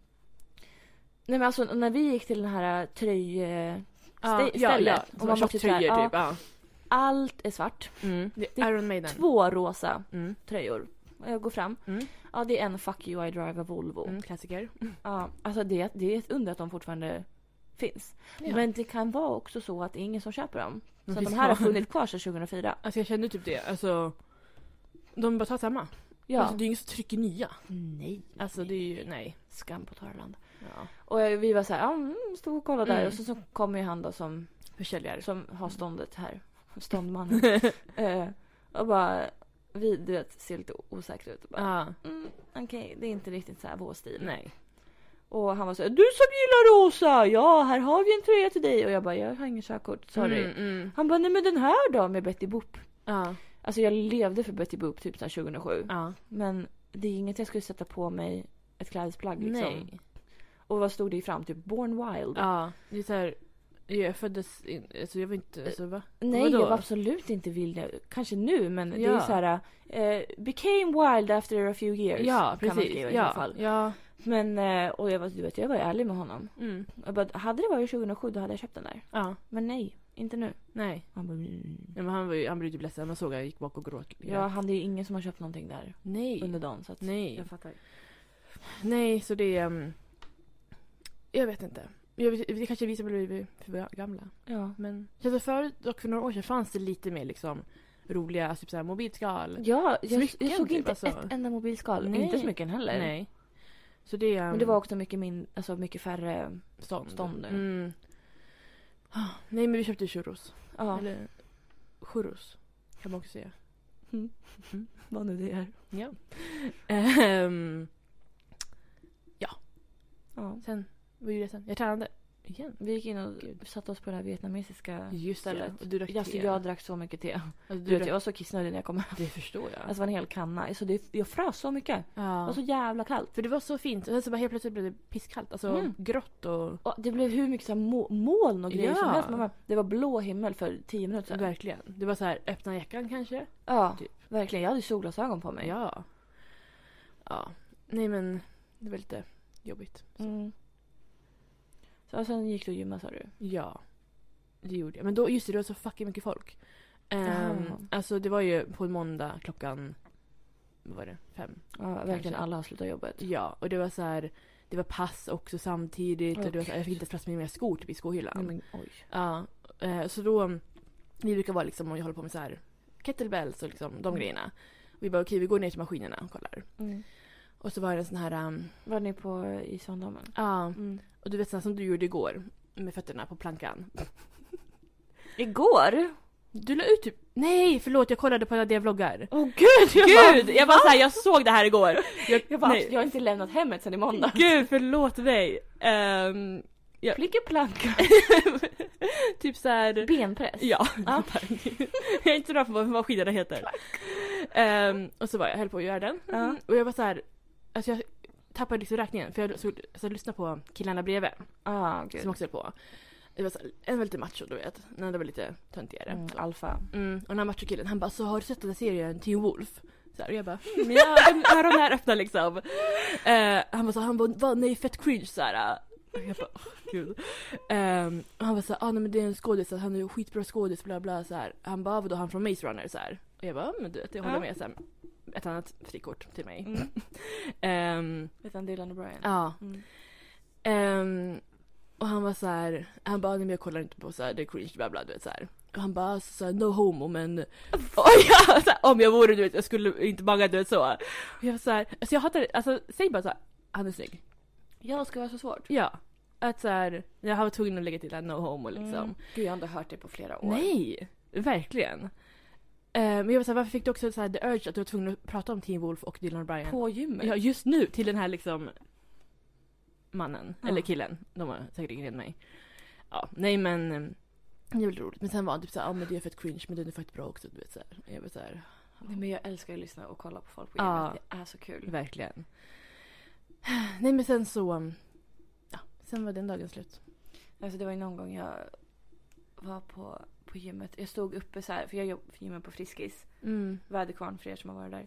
Speaker 1: nej men alltså när vi gick till den här eh, tröjstället.
Speaker 2: ja, ja, ja.
Speaker 1: och man var typ såhär,
Speaker 2: tjocktröjor
Speaker 1: ja,
Speaker 2: typ. Ja.
Speaker 1: allt är svart.
Speaker 2: Mm. Det
Speaker 1: Det
Speaker 2: är Iron Maiden.
Speaker 1: Två rosa
Speaker 2: Mm.
Speaker 1: tröjor. Jag går fram.
Speaker 2: Mm.
Speaker 1: Ja det är en Fuck you I drive a Volvo.
Speaker 2: Mm, klassiker.
Speaker 1: Ja, alltså det, det är ett under att de fortfarande finns.
Speaker 2: Ja.
Speaker 1: Men det kan vara också så att det är ingen som köper dem. Så att
Speaker 2: finns
Speaker 1: de här har
Speaker 2: kvar.
Speaker 1: funnits kvar sedan 2004.
Speaker 2: Alltså jag kände typ det. Alltså... De bara tar samma.
Speaker 1: Ja.
Speaker 2: Alltså, det är ingen som trycker nya.
Speaker 1: nej.
Speaker 2: Alltså det är ju... Nej.
Speaker 1: Skam på Torrland.
Speaker 2: Ja.
Speaker 1: Och eh, vi var så här, ja, mm, stod och kollade där.
Speaker 2: Mm.
Speaker 1: Och så, så kommer ju han då som,
Speaker 2: Försäljare. Mm.
Speaker 1: som har ståndet här. Ståndmannen. eh, och bara, vi du vet, ser lite osäkra ut. Och bara,
Speaker 2: Ja.
Speaker 1: mm, okej, det är inte riktigt så här vår stil.
Speaker 2: Nej.
Speaker 1: Och han var så här, du som gillar rosa, ja här har vi en tröja till dig. Och jag bara, jag har ingen körkort, sorry.
Speaker 2: Mm, mm.
Speaker 1: Han bara, nej men den här då med Betty Boop.
Speaker 2: Ja.
Speaker 1: Alltså jag levde för Betty Boop typ så här 2007.
Speaker 2: Ja.
Speaker 1: Men det är inget jag skulle sätta på mig ett klädesplagg liksom.
Speaker 2: Nej.
Speaker 1: Och vad stod det i fram? Typ Born Wild?
Speaker 2: Ja, det är så här, jag föddes in, alltså jag var inte,
Speaker 1: Eh,
Speaker 2: alltså va?
Speaker 1: Nej,
Speaker 2: vadå?
Speaker 1: jag var absolut inte vild. nu. Kanske nu, men det är ju
Speaker 2: Ja.
Speaker 1: så här... Eh, became wild after a few years.
Speaker 2: Ja,
Speaker 1: Kan man
Speaker 2: precis.
Speaker 1: skriva
Speaker 2: ja,
Speaker 1: i alla fall.
Speaker 2: ja.
Speaker 1: Men, eh, och jag var, du vet, jag var ju ärlig med honom.
Speaker 2: Mm.
Speaker 1: Jag bara, hade det varit 2007 då hade jag köpt den där.
Speaker 2: Ja,
Speaker 1: Men nej, inte nu.
Speaker 2: nej.
Speaker 1: Han bara, mm.
Speaker 2: nej men han, var ju, han blev typ ledsen, man såg att han gick bak och gråt.
Speaker 1: Ja, han, det är ju ingen som har köpt någonting där
Speaker 2: nej.
Speaker 1: under dagen. Så att
Speaker 2: Nej.
Speaker 1: Jag fattar.
Speaker 2: Nej, så det är... ehm, jag vet inte. Jag vet, det kanske är vi som blir för gamla.
Speaker 1: Ja.
Speaker 2: Men jag vet, förut, dock för några år sedan, fanns det lite mer liksom roliga, alltså, typ såhär mobilskal.
Speaker 1: Ja, jag,
Speaker 2: Smycken,
Speaker 1: jag såg
Speaker 2: typ,
Speaker 1: inte
Speaker 2: alltså.
Speaker 1: ett enda mobilskal.
Speaker 2: Nej.
Speaker 1: Inte smycken heller.
Speaker 2: Nej. Så det är... ehm,
Speaker 1: Men det var också mycket, min, alltså mycket färre...
Speaker 2: stånd.
Speaker 1: stånd nu.
Speaker 2: Mm. Ah, Nej, men vi köpte churros.
Speaker 1: Ja,
Speaker 2: Eller churros, kan man också säga.
Speaker 1: vad nu det är.
Speaker 2: Ja. Ehm,
Speaker 1: Ja.
Speaker 2: sen, vad gjorde jag sen? Jag tränade. Igen.
Speaker 1: Vi gick in och
Speaker 2: Gud.
Speaker 1: satte oss på det här vietnamesiska
Speaker 2: Just det.
Speaker 1: stället.
Speaker 2: Och du drack
Speaker 1: Alltså,
Speaker 2: te.
Speaker 1: jag drack så mycket te.
Speaker 2: Alltså,
Speaker 1: Du
Speaker 2: du
Speaker 1: vet, jag
Speaker 2: drack...
Speaker 1: var så kissnödig när jag kom hem.
Speaker 2: Det förstår jag.
Speaker 1: Alltså det var en hel kanna. Alltså, det, jag frös så mycket. Det var
Speaker 2: ja.
Speaker 1: så jävla kallt.
Speaker 2: alltså, För det var så fint. Och sen så bara helt plötsligt blev det pisskallt. Alltså
Speaker 1: Mm.
Speaker 2: grått och...
Speaker 1: Och det blev hur mycket så här, må- moln och grejer som
Speaker 2: Ja.
Speaker 1: helst. Man bara, det var blå himmel för tio minuter sedan.
Speaker 2: Verkligen. Det var så här, öppna jackan kanske?
Speaker 1: Ja,
Speaker 2: Typ.
Speaker 1: verkligen. Jag hade ju solglasögon på mig.
Speaker 2: Ja. Ja. Nej men, det var lite jobbigt.
Speaker 1: Mm. Så, och sen gick du och gymmade sa du.
Speaker 2: Ja. Det gjorde jag. Men då, just det, det var så fucking mycket folk. Ehm,
Speaker 1: Jaha.
Speaker 2: alltså det var ju på en måndag klockan... Vad var det? Fem?
Speaker 1: Ja, verkligen.
Speaker 2: Kanske.
Speaker 1: Alla har slutat jobbet.
Speaker 2: Ja, och det var så här, det var pass också samtidigt.
Speaker 1: Åh,
Speaker 2: och det var så här, jag fick inte ens plats med mina skor typ, i
Speaker 1: Nej,
Speaker 2: skohyllan.
Speaker 1: men, oj.
Speaker 2: Ja, eh, så då, vi brukar vara liksom, och jag håller på med så här kettlebells och liksom, de
Speaker 1: Mm.
Speaker 2: grejerna. Vi bara okej, vi går ner till maskinerna och kollar.
Speaker 1: Mm.
Speaker 2: Och så var det en sån här, um,
Speaker 1: Var ni på i Svandamen?
Speaker 2: ja, och du vet sån här som du gjorde igår med fötterna på plankan.
Speaker 1: Igår?
Speaker 2: Du la ut typ, nej förlåt jag kollade på alla dina vloggar.
Speaker 1: Åh gud!
Speaker 2: Jag
Speaker 1: Jag
Speaker 2: bara,
Speaker 1: bara, "Ah."
Speaker 2: jag bara såhär, jag såg det här igår. Jag,
Speaker 1: jag, bara,
Speaker 2: nej.
Speaker 1: jag har inte lämnat hemmet sedan i måndag.
Speaker 2: Gud förlåt mig. Ehm, Ja.
Speaker 1: Plinkeplanka.
Speaker 2: typ såhär.
Speaker 1: Benpress. Ah.
Speaker 2: Ja,
Speaker 1: Ja.
Speaker 2: tack. jag är inte så bra på vad vad skidorna heter. Ehm, och så var jag, höll på att göra den. Mm,
Speaker 1: Ja.
Speaker 2: Och jag var så här, alltså jag tappade liksom räkningen för jag så, så jag lyssnade på killarna bredvid
Speaker 1: Ah, gud.
Speaker 2: som också höll på. Det var så här, en var lite macho du vet, den andra var lite töntigare.
Speaker 1: Mm,
Speaker 2: Så.
Speaker 1: alfa.
Speaker 2: Mm, och den här machokillen han bara så har du sett den där serien Teen Wolf? Så här, och jag bara mm, ja, den, när de här öppna liksom. Eh, han bara så han bara vad nej fett cringe så här. eh. Och jag bara åh gud. Ehm, och han var så här, ah, nej men det är en skådis, så han är ju skitbra skådis bla bla så här. Han bara "Ah, vadå han från Maze Runner så här. Och jag bara "Ja, men du vet jag håller
Speaker 1: Ja.
Speaker 2: med så här. Ett annat frikort till mig.
Speaker 1: Mm.
Speaker 2: Ehm,
Speaker 1: Utan Dylan och Brian.
Speaker 2: ja.
Speaker 1: Mm.
Speaker 2: Ehm, och han var så här, han bara "Ah, nej men jag kollar inte på så här, det är cringe bla bla du vet så här. Och han bara "Ah, så här, no homo men Oj, ja, så här, om jag vore du vet jag skulle inte banga du vet så. Och jag var så här, alltså jag hatar alltså säg bara så här, han är snygg.
Speaker 1: Ja, ska det vara så svårt?
Speaker 2: Ja. Att så här, jag har varit tvungen att lägga till det här no homo liksom.
Speaker 1: Mm. Gud, jag har inte hört det på flera år.
Speaker 2: Nej! Verkligen. Eh, men jag var såhär, varför fick du också så här, the urge att du var tvungen att prata om Teen Wolf och Dylan O'Brien?
Speaker 1: På gymmet?
Speaker 2: Ja, just nu till den här liksom mannen,
Speaker 1: Ja.
Speaker 2: eller killen. De har säkert ringt mig. Ja, nej men eh, det var lite roligt. Men sen var han typ såhär, ja men det är fett cringe men den är faktiskt bra också. Du vet såhär. Jag var såhär,
Speaker 1: Nej, men jag älskar att lyssna och kolla på folk på gymmet.
Speaker 2: Ja.
Speaker 1: Det är så kul.
Speaker 2: verkligen. Nej men sen så, um, ja, sen var den dagen slut.
Speaker 1: Alltså, det var ju någon gång jag var på, på gymmet. Jag stod uppe så här, för jag jobbar på gymmet på Friskis.
Speaker 2: Mm.
Speaker 1: Väderkvarn för er som har varit där.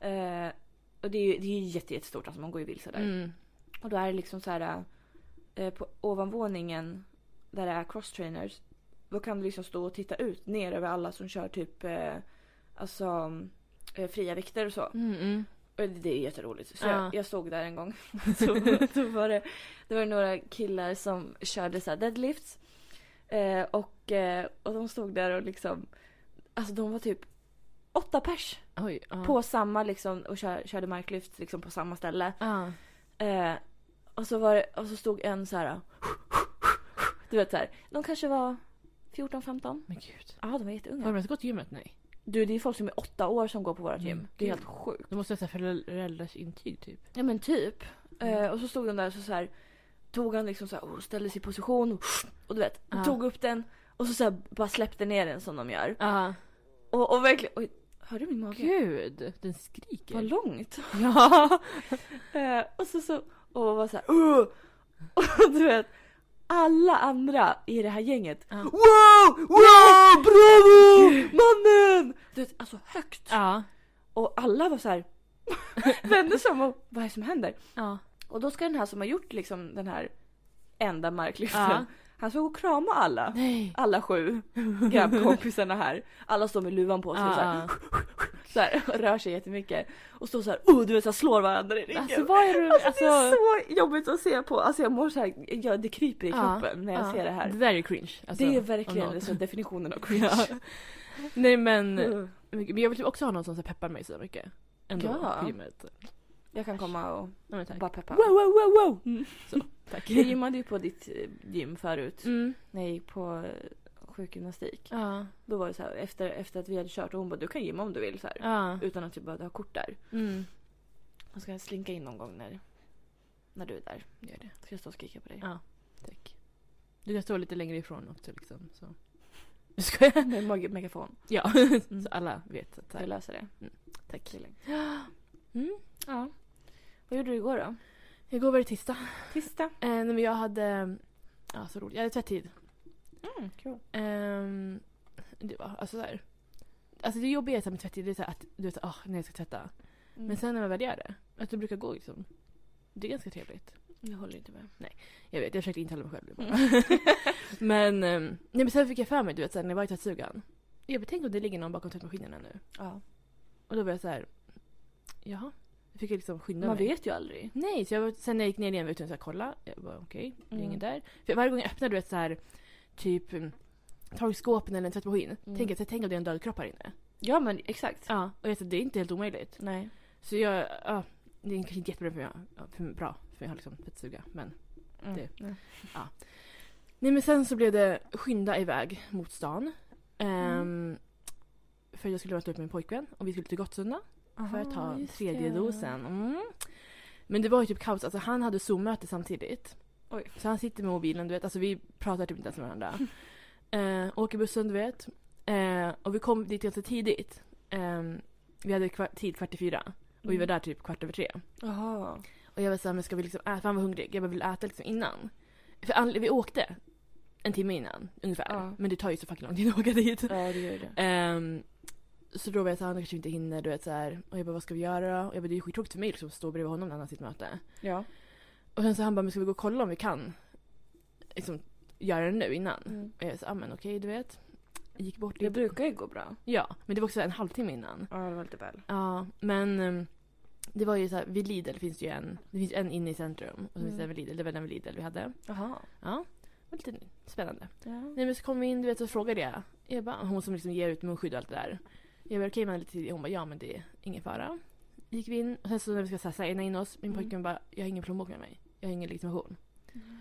Speaker 1: Eh, och det är ju, det är ju jätte, jättestort, alltså man går ju vilse där.
Speaker 2: Mm.
Speaker 1: Och då är det liksom så här eh, på ovanvåningen där det är crosstrainers. Då kan du liksom stå och titta ut ner över alla som kör typ eh, alltså eh, fria vikter och så.
Speaker 2: Mm, mm.
Speaker 1: Och det är jätteroligt. Så
Speaker 2: Ja.
Speaker 1: jag, jag stod där en gång. så, då var det, det var några killar som körde så här deadlifts. Eh, och, eh, och de stod där och liksom, alltså de var typ åtta pers
Speaker 2: Oj. Ja.
Speaker 1: på samma liksom och kör, körde marklyft liksom på samma ställe.
Speaker 2: Ja.
Speaker 1: Eh, och, så var det, och så stod en så här. Du vet så här. De kanske var 14-15.
Speaker 2: Men gud.
Speaker 1: Ja, de var
Speaker 2: Har de
Speaker 1: jätteunga.
Speaker 2: ens gått till gymmet? Nej.
Speaker 1: Du, det är folk som är åtta år som går på vårt gym.
Speaker 2: Mm.
Speaker 1: Det är helt sjukt.
Speaker 2: De måste ha så här föräldrars intyg typ.
Speaker 1: Ja men typ. Eh, och så stod de där så, så här. Tog han liksom så här och ställde sig i position och, och du vet.
Speaker 2: Ja.
Speaker 1: Tog upp den och så, så här, bara släppte ner den som de gör.
Speaker 2: Ja.
Speaker 1: Och, och verkligen. Oj, hörde du min mage?
Speaker 2: Gud, den skriker.
Speaker 1: Vad långt.
Speaker 2: Ja.
Speaker 1: Eh, och så, så och var så här. "Ugh!" Och du vet. Alla andra i det här gänget Wow! Wow! Bravo! Mannen! Du vet, alltså högt.
Speaker 2: Ja.
Speaker 1: Och alla var så här. vände sig om och vad är det som händer?
Speaker 2: Ja.
Speaker 1: Och då ska den här som har gjort liksom den här enda marklyften.
Speaker 2: Ja.
Speaker 1: Han ska gå och krama alla.
Speaker 2: Nej.
Speaker 1: Alla sju grabbkompisarna här. Alla står med luvan på sig och så här,
Speaker 2: Ja.
Speaker 1: så här, och rör sig jättemycket. Och står så här, oh, du vet så här, slår varandra i ryggen.
Speaker 2: Alltså vad är det? Alltså,
Speaker 1: det är så jobbigt att se på. Alltså jag mår så här, ja, det kryper i
Speaker 2: Ja,
Speaker 1: kroppen när jag
Speaker 2: ja.
Speaker 1: ser det här.
Speaker 2: Det där är cringe. Alltså,
Speaker 1: det är
Speaker 2: om
Speaker 1: verkligen
Speaker 2: något.
Speaker 1: så definitionen av
Speaker 2: Ja.
Speaker 1: cringe.
Speaker 2: Nej men,
Speaker 1: Mm.
Speaker 2: men jag vill typ också ha någon som så här peppar mig så mycket. Ändå
Speaker 1: Ja.
Speaker 2: på gymmet.
Speaker 1: Jag kan komma och
Speaker 2: Ja, men tack.
Speaker 1: bara peppa.
Speaker 2: Wow, wow, wow, wow!
Speaker 1: Mm.
Speaker 2: Så, tack.
Speaker 1: Jag gymmade ju på ditt eh, gym förut
Speaker 2: Mm.
Speaker 1: när jag gick på eh, sjukgymnastik.
Speaker 2: Ja.
Speaker 1: Då var det så här efter, efter att vi hade kört och hon bara du kan gymma om du vill så här.
Speaker 2: Ja.
Speaker 1: Utan att du behövde ha kort där.
Speaker 2: Mm.
Speaker 1: Jag ska slinka in någon gång när, när du är där.
Speaker 2: Gör det.
Speaker 1: Ska jag stå och skrika på dig?
Speaker 2: Ja. Tack. Du kan stå lite längre ifrån också liksom. Så. Nu ska jag.
Speaker 1: Med mag- megafon.
Speaker 2: Ja.
Speaker 1: Mm.
Speaker 2: Så alla vet. att Så
Speaker 1: Jag
Speaker 2: här.
Speaker 1: löser det.
Speaker 2: Tack.
Speaker 1: Det är lugnt.
Speaker 2: Mm.
Speaker 1: Ja. Vad gjorde du igår då?
Speaker 2: Igår var det tisdag.
Speaker 1: Tisdag.
Speaker 2: Eh, nej, men jag hade... Ja, så roligt. Jag hade tvättid.
Speaker 1: Mm, kul.
Speaker 2: Ehm, det var alltså där. Alltså det jobbiga är så här med tvättid, det är så här att du vet ah när jag ska tvätta.
Speaker 1: Mm.
Speaker 2: Men sen när man väl gör det, att det brukar gå liksom. Det är ganska trevligt.
Speaker 1: Jag håller inte med.
Speaker 2: Jag vet, jag försökte intala mig själv det
Speaker 1: Mm.
Speaker 2: bara. men, ehm, nej, men sen fick jag för mig du vet så här, när jag var i tvättstugan. Jag bara, tänk om det ligger någon bakom tvättmaskinerna nu.
Speaker 1: Ja.
Speaker 2: Och då var jag så här. jaha. Då fick jag liksom skynda
Speaker 1: Man
Speaker 2: mig.
Speaker 1: vet ju aldrig.
Speaker 2: Nej, så jag var, sen när jag gick ner igen var jag tvungen att kolla. Jag bara okej, det är
Speaker 1: Mm.
Speaker 2: ingen där. För varje gång jag öppnar du vet så här typ mm, torkskåpen eller en tvättmaskin.
Speaker 1: Mm.
Speaker 2: Tänk, att- så tänk om det är en död kropp här inne.
Speaker 1: Ja men exakt.
Speaker 2: Ja. Och jag, sa, det är inte helt omöjligt.
Speaker 1: Nej.
Speaker 2: Så jag, ja, det är kanske inte jättebra för mig, ja, för bra, för jag har liksom tvättstuga. Men.
Speaker 1: Mm.
Speaker 2: Det-
Speaker 1: Ja.
Speaker 2: Nej men sen så blev det skynda iväg mot stan. Ehm,
Speaker 1: Mm.
Speaker 2: För jag skulle möta upp min pojkvän och vi skulle till Gottsunda för att
Speaker 1: Aha,
Speaker 2: ta
Speaker 1: Ah, just
Speaker 2: tredje
Speaker 1: det.
Speaker 2: dosen. Mm. Men det var ju typ kaos. Alltså han hade Zoom-möte samtidigt.
Speaker 1: Oj.
Speaker 2: Så han sitter med mobilen, du vet. Alltså vi pratar typ inte ens med varandra. eh, åker bussen, du vet. Eh, och vi kom dit ganska tidigt. Ehm, vi hade kvar- tid kvart i fyra. Och
Speaker 1: Mm.
Speaker 2: vi var där typ kvart över tre.
Speaker 1: Jaha.
Speaker 2: Och jag var såhär, men ska vi liksom äta? För han var hungrig. Jag bara, vill äta liksom innan. För anled- vi åkte en timme innan ungefär.
Speaker 1: Ja.
Speaker 2: Men det tar ju så fucking lång tid att åka dit.
Speaker 1: Ja det gör det.
Speaker 2: Ehm, så då var jag såhär, han kanske inte hinner. Du vet, så här. Och jag bara, vad ska vi göra då? Och jag bara, det är ju skittråkigt för mig liksom, att stå bredvid honom när han har sitt möte.
Speaker 1: Ja.
Speaker 2: Och sen så han bara, men ska vi gå och kolla om vi kan liksom, göra det nu innan?
Speaker 1: Mm.
Speaker 2: Och jag sa, ah, men okej du vet. Jag gick bort
Speaker 1: Det
Speaker 2: lite.
Speaker 1: brukar ju gå bra.
Speaker 2: Ja, men det var också en halvtimme innan.
Speaker 1: Ja det var lite väl.
Speaker 2: Ja, men ehm, det var ju så här, vid Lidl finns det ju en, det finns en inne i centrum och så finns det
Speaker 1: Mm.
Speaker 2: en vid Lidl, det var den vid Lidl vi hade.
Speaker 1: Jaha.
Speaker 2: Ja, det var lite spännande.
Speaker 1: Ja.
Speaker 2: Nej men så kom vi in, du vet, så frågade jag. jag bara, hon som liksom ger ut munskydd och allt det där. Jag bara, okej men lite tidigt. Hon bara, ja men det är ingen fara. Gick vi in och sen så när vi ska så här signa in oss, min
Speaker 1: Mm.
Speaker 2: pojkvän bara, jag har ingen plånbok med mig. Jag har ingen legitimation.
Speaker 1: Mm.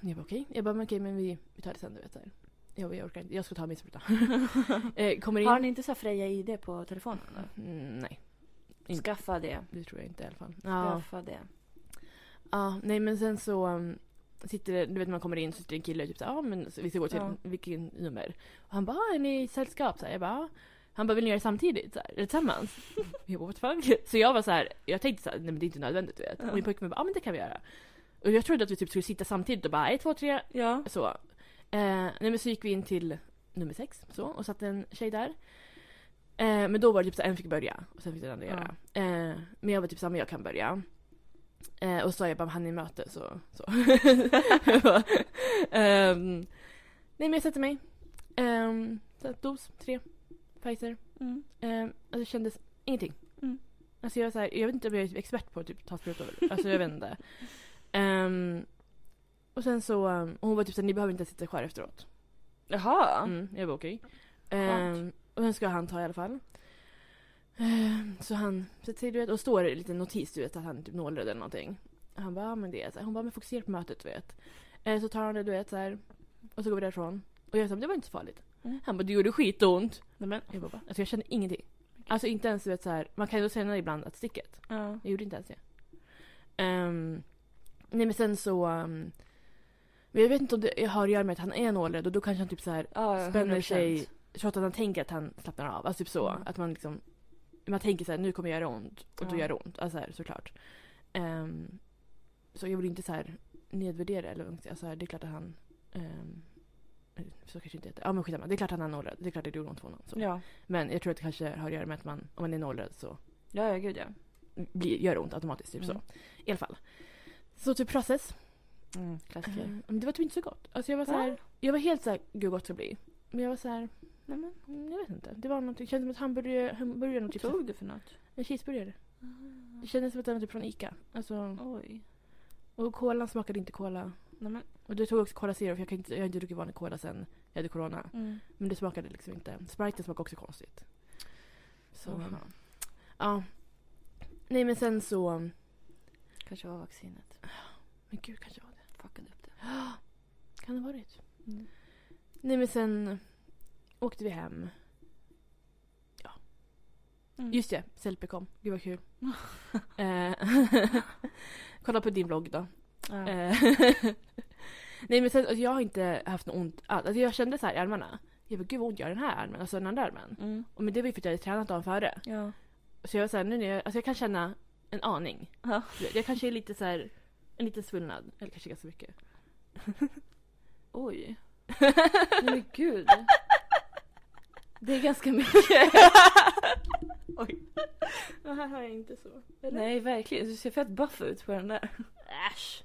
Speaker 2: Jag bara okej. Jag bara men okej men vi, vi tar det sen du vet. Så här. Jag, bara, jag orkar inte. Jag ska ta min spruta. eh, kommer in.
Speaker 1: Har ni inte så här Freja ID på telefonen? då?
Speaker 2: Mm, nej, Inte.
Speaker 1: Skaffa det.
Speaker 2: det tror jag inte i alla fall. Ja.
Speaker 1: Skaffa det.
Speaker 2: Ja, nej men sen så um, sitter det, du vet när man kommer in så sitter det en kille och typ såhär, ja men så vi ska gå till
Speaker 1: Ja.
Speaker 2: vilken nummer. Och han bara, "Ah, är ni i sällskap? Så här, jag bara, "Ja." han bara, vill ni göra det samtidigt? Så här, eller tillsammans? jag bara, what the fuck? Så jag var så här, jag tänkte så här, nej men det är inte nödvändigt du vet.
Speaker 1: Ja.
Speaker 2: Och min pojkvän bara, ja men det kan vi göra. Och jag trodde att vi typ skulle sitta samtidigt och bara, ett, två, tre,
Speaker 1: Ja.
Speaker 2: så. Eh, nej men så gick vi in till nummer sex så, och satt en tjej där. Eh, men då var det typ så här, en fick börja och sen fick den andra
Speaker 1: Ja.
Speaker 2: göra. Eh, men jag var typ såhär, men jag kan börja. Eh, och så sa jag bara, han är i möte så. så. Ehm, nej men jag sätter mig. Um, så här, dos, tre, Pfizer.
Speaker 1: Mm.
Speaker 2: Eh, alltså det kändes ingenting.
Speaker 1: Mm.
Speaker 2: Alltså jag, var så här, jag vet inte om jag är expert på att typ, ta sprutor. Alltså jag vet inte. Ehm, och sen så, um, och hon var typ såhär, ni behöver inte sitta kvar efteråt.
Speaker 1: Jaha.
Speaker 2: Mm, jag var okej.
Speaker 1: Skönt.
Speaker 2: Ehm, och sen ska han ta i alla fall. Ehm, så han sätter sig du vet, och står i en liten notis du vet att han är typ nålrädd eller någonting. Och han bara, ja men det är så här. Hon bara, men fokusera på mötet du vet. Eh, så tar han det du vet så här. Och så går vi därifrån. Och jag sa, men det var inte så farligt.
Speaker 1: Mm.
Speaker 2: Han bara, det gjorde skitont. Nej, men, jag bara, "Va?" alltså jag kände ingenting. Alltså inte ens du vet så här. man kan ju känna ibland att sticket.
Speaker 1: Ja.
Speaker 2: Jag gjorde inte ens det. Ehm, nej men sen så... ehm, men jag vet inte om det har att göra med att han är nålrädd och då kanske han typ så här
Speaker 1: Ja,
Speaker 2: spänner
Speaker 1: 100%.
Speaker 2: sig trots att han tänker att han slappnar av. Alltså typ så.
Speaker 1: Mm.
Speaker 2: Att man liksom... Man tänker så här, nu kommer jag göra ont. Och då
Speaker 1: Ja.
Speaker 2: gör det ont. Alltså så här, såklart. Ehm, så jag vill inte så här nedvärdera eller vad man ska säga. alltså, här, Det är klart att han... ehm, så kanske inte heter. Ja men skitsamma. Det är klart att han är nålrädd. Det är klart att det gjorde ont för honom. Så.
Speaker 1: Ja.
Speaker 2: Men jag tror att det kanske har att göra med att man, om man är nålrädd så
Speaker 1: Ja, ja, gud ja.
Speaker 2: blir, gör ont automatiskt. Typ
Speaker 1: Mm.
Speaker 2: så. I alla fall. Så typ process.
Speaker 1: Mm,
Speaker 2: Eh,
Speaker 1: klassiker.
Speaker 2: Men det var typ inte så gott. Alltså jag var så
Speaker 1: Va?
Speaker 2: här, jag var helt så här, gud vad gott det ska bli. Men jag var så här,
Speaker 1: Nej, men,
Speaker 2: mm, jag vet inte. Det var något, det kändes som att hamburgare, hamburgaren och
Speaker 1: vad
Speaker 2: typ
Speaker 1: tog du för något?
Speaker 2: en cheeseburgare. Det kändes som att den var typ från ICA. Alltså,
Speaker 1: Ah. Oj.
Speaker 2: och kolan smakade inte cola.
Speaker 1: Nej, men,
Speaker 2: Och det tog också cola zero för jag, kan inte, jag har inte druckit vanlig cola sen jag hade corona.
Speaker 1: mm.
Speaker 2: Men det smakade liksom inte. Spriten smakade också konstigt. Så,
Speaker 1: Oh.
Speaker 2: ja. Nej men sen så, men
Speaker 1: Kanske var vaccinet.
Speaker 2: gud kanske var det.
Speaker 1: Fuckade upp det.
Speaker 2: Kan det ha varit.
Speaker 1: Mm.
Speaker 2: Nej men sen åkte vi hem.
Speaker 1: Mm.
Speaker 2: Just det, Selfie kom. Gud vad kul. eh, kolla på din vlogg då.
Speaker 1: Ja.
Speaker 2: Eh, Nej men sen, alltså, jag har inte haft något ont alls. Alltså, jag kände så här i armarna. Jag bara, gud vad ont gör den här armen, alltså den andra armen.
Speaker 1: Mm.
Speaker 2: Och, men det var ju för att jag hade tränat dagen före.
Speaker 1: Ja.
Speaker 2: Så jag var så här, nu när jag, alltså jag kan känna en aning.
Speaker 1: Ja.
Speaker 2: Du vet, Jag kanske är lite så här, en liten svullnad. Eller kanske ganska mycket.
Speaker 1: Oj. Nej men gud. Det är ganska mycket.
Speaker 2: Oj. Ja, här har jag inte så. Eller?
Speaker 1: Nej verkligen. Du ser fett buff ut på den där.
Speaker 2: Äsch.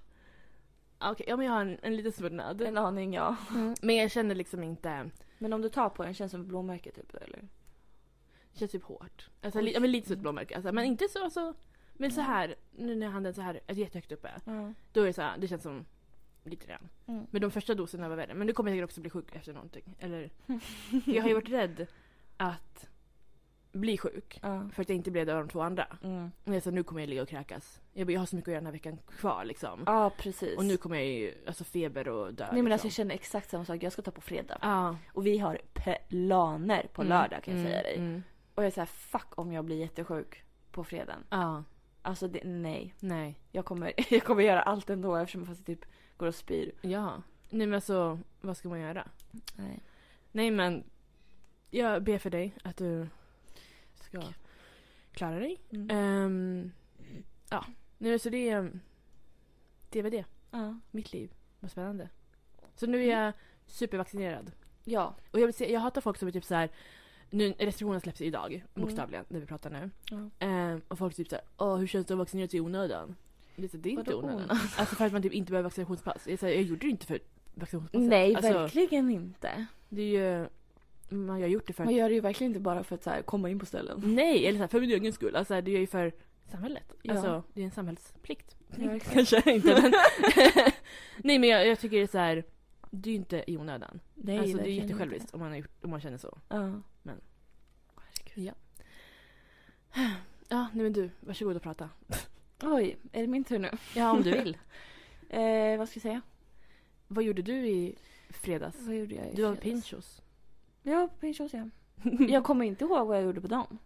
Speaker 2: Ah, Okej, ja men jag har en, en liten svullnad.
Speaker 1: En aning ja.
Speaker 2: Men jag känner liksom inte...
Speaker 1: Men om du tar på den känns det som ett blåmärke typ eller?
Speaker 2: Det känns typ hårt. Alltså,
Speaker 1: Oj. Mm.
Speaker 2: li, ja, men lite som ett blåmärke. Alltså, men inte så... Alltså, men så här, nu när handen så här är jättehögt uppe.
Speaker 1: Ja.
Speaker 2: Då är det så här, det känns som lite redan.
Speaker 1: Mm.
Speaker 2: Men de första doserna var värre. Men nu kommer jag säkert också bli sjuk efter någonting. Eller, jag har ju varit rädd att bli sjuk.
Speaker 1: Ja.
Speaker 2: För att jag inte blev det av de två andra.
Speaker 1: Mm.
Speaker 2: Men jag sa, nu kommer jag ligga och kräkas. Jag, bara, jag har så mycket att göra den här veckan kvar liksom.
Speaker 1: Ja precis.
Speaker 2: Och nu kommer jag ju, alltså feber och dö.
Speaker 1: Nej men alltså jag Ah.
Speaker 2: liksom.
Speaker 1: känner exakt samma sak. Jag ska ta på fredag.
Speaker 2: Ja.
Speaker 1: Och vi har planer på
Speaker 2: Mm,
Speaker 1: lördag kan jag
Speaker 2: mm,
Speaker 1: säga dig.
Speaker 2: Mm.
Speaker 1: Och jag är såhär fuck om jag blir jättesjuk på fredagen.
Speaker 2: Ja,
Speaker 1: Alltså det, nej.
Speaker 2: nej.
Speaker 1: Jag kommer, jag kommer göra allt ändå eftersom jag typ går och spyr.
Speaker 2: Ja. Nej men alltså, vad ska man göra?
Speaker 1: Nej.
Speaker 2: Nej men, jag ber för dig att du ska
Speaker 1: Tack.
Speaker 2: klara dig.
Speaker 1: Mm.
Speaker 2: Ehm, ja, nej men så det är... ehm, Det var det.
Speaker 1: Ja.
Speaker 2: Mitt liv. Vad spännande. Så nu
Speaker 1: Mm.
Speaker 2: är jag supervaccinerad.
Speaker 1: Ja.
Speaker 2: Och jag, vill se, jag hatar folk som är typ så här. Nu, restriktionerna släpps idag, bokstavligen, när vi pratar nu.
Speaker 1: Mm. Ja.
Speaker 2: Ehm, och folk typ såhär, åh hur känns det att vaccinera sig i onödan? Det är så- det är inte
Speaker 1: Vadå
Speaker 2: onödan.
Speaker 1: onödan?
Speaker 2: Alltså för att man typ inte behöver vaccinationspass. Jag, är så här, jag gjorde det inte för vaccinationspasset.
Speaker 1: Nej,
Speaker 2: alltså,
Speaker 1: verkligen inte.
Speaker 2: Det är ju, mm, man har gjort det för att
Speaker 1: Man gör det ju verkligen inte bara för att så här, komma in på ställen.
Speaker 2: Nej, eller så här, för min egen skull. Alltså, det är ju för samhället.
Speaker 1: Ja.
Speaker 2: Alltså, det är en samhällsplikt.
Speaker 1: Ja, exakt.
Speaker 2: Kanske inte, men... Nej, men jag, jag tycker det är så här... Det är ju inte i onödan.
Speaker 1: Nej,
Speaker 2: alltså, det är
Speaker 1: verkligen
Speaker 2: jättesjälviskt
Speaker 1: inte.
Speaker 2: om man, har gjort, om man känner så.
Speaker 1: Ja.
Speaker 2: Men-
Speaker 1: Herregud.
Speaker 2: Ja, nej men du. Varsågod och prata.
Speaker 1: Oj, är det min tur nu?
Speaker 2: Ja, om du vill.
Speaker 1: Eh, vad ska jag säga?
Speaker 2: Vad gjorde du i fredags?
Speaker 1: Vad gjorde jag i
Speaker 2: Du var på
Speaker 1: fredags? Mm.
Speaker 2: Pinchos.
Speaker 1: Ja, pinchos ja. Jag kommer inte ihåg vad jag gjorde på dagen.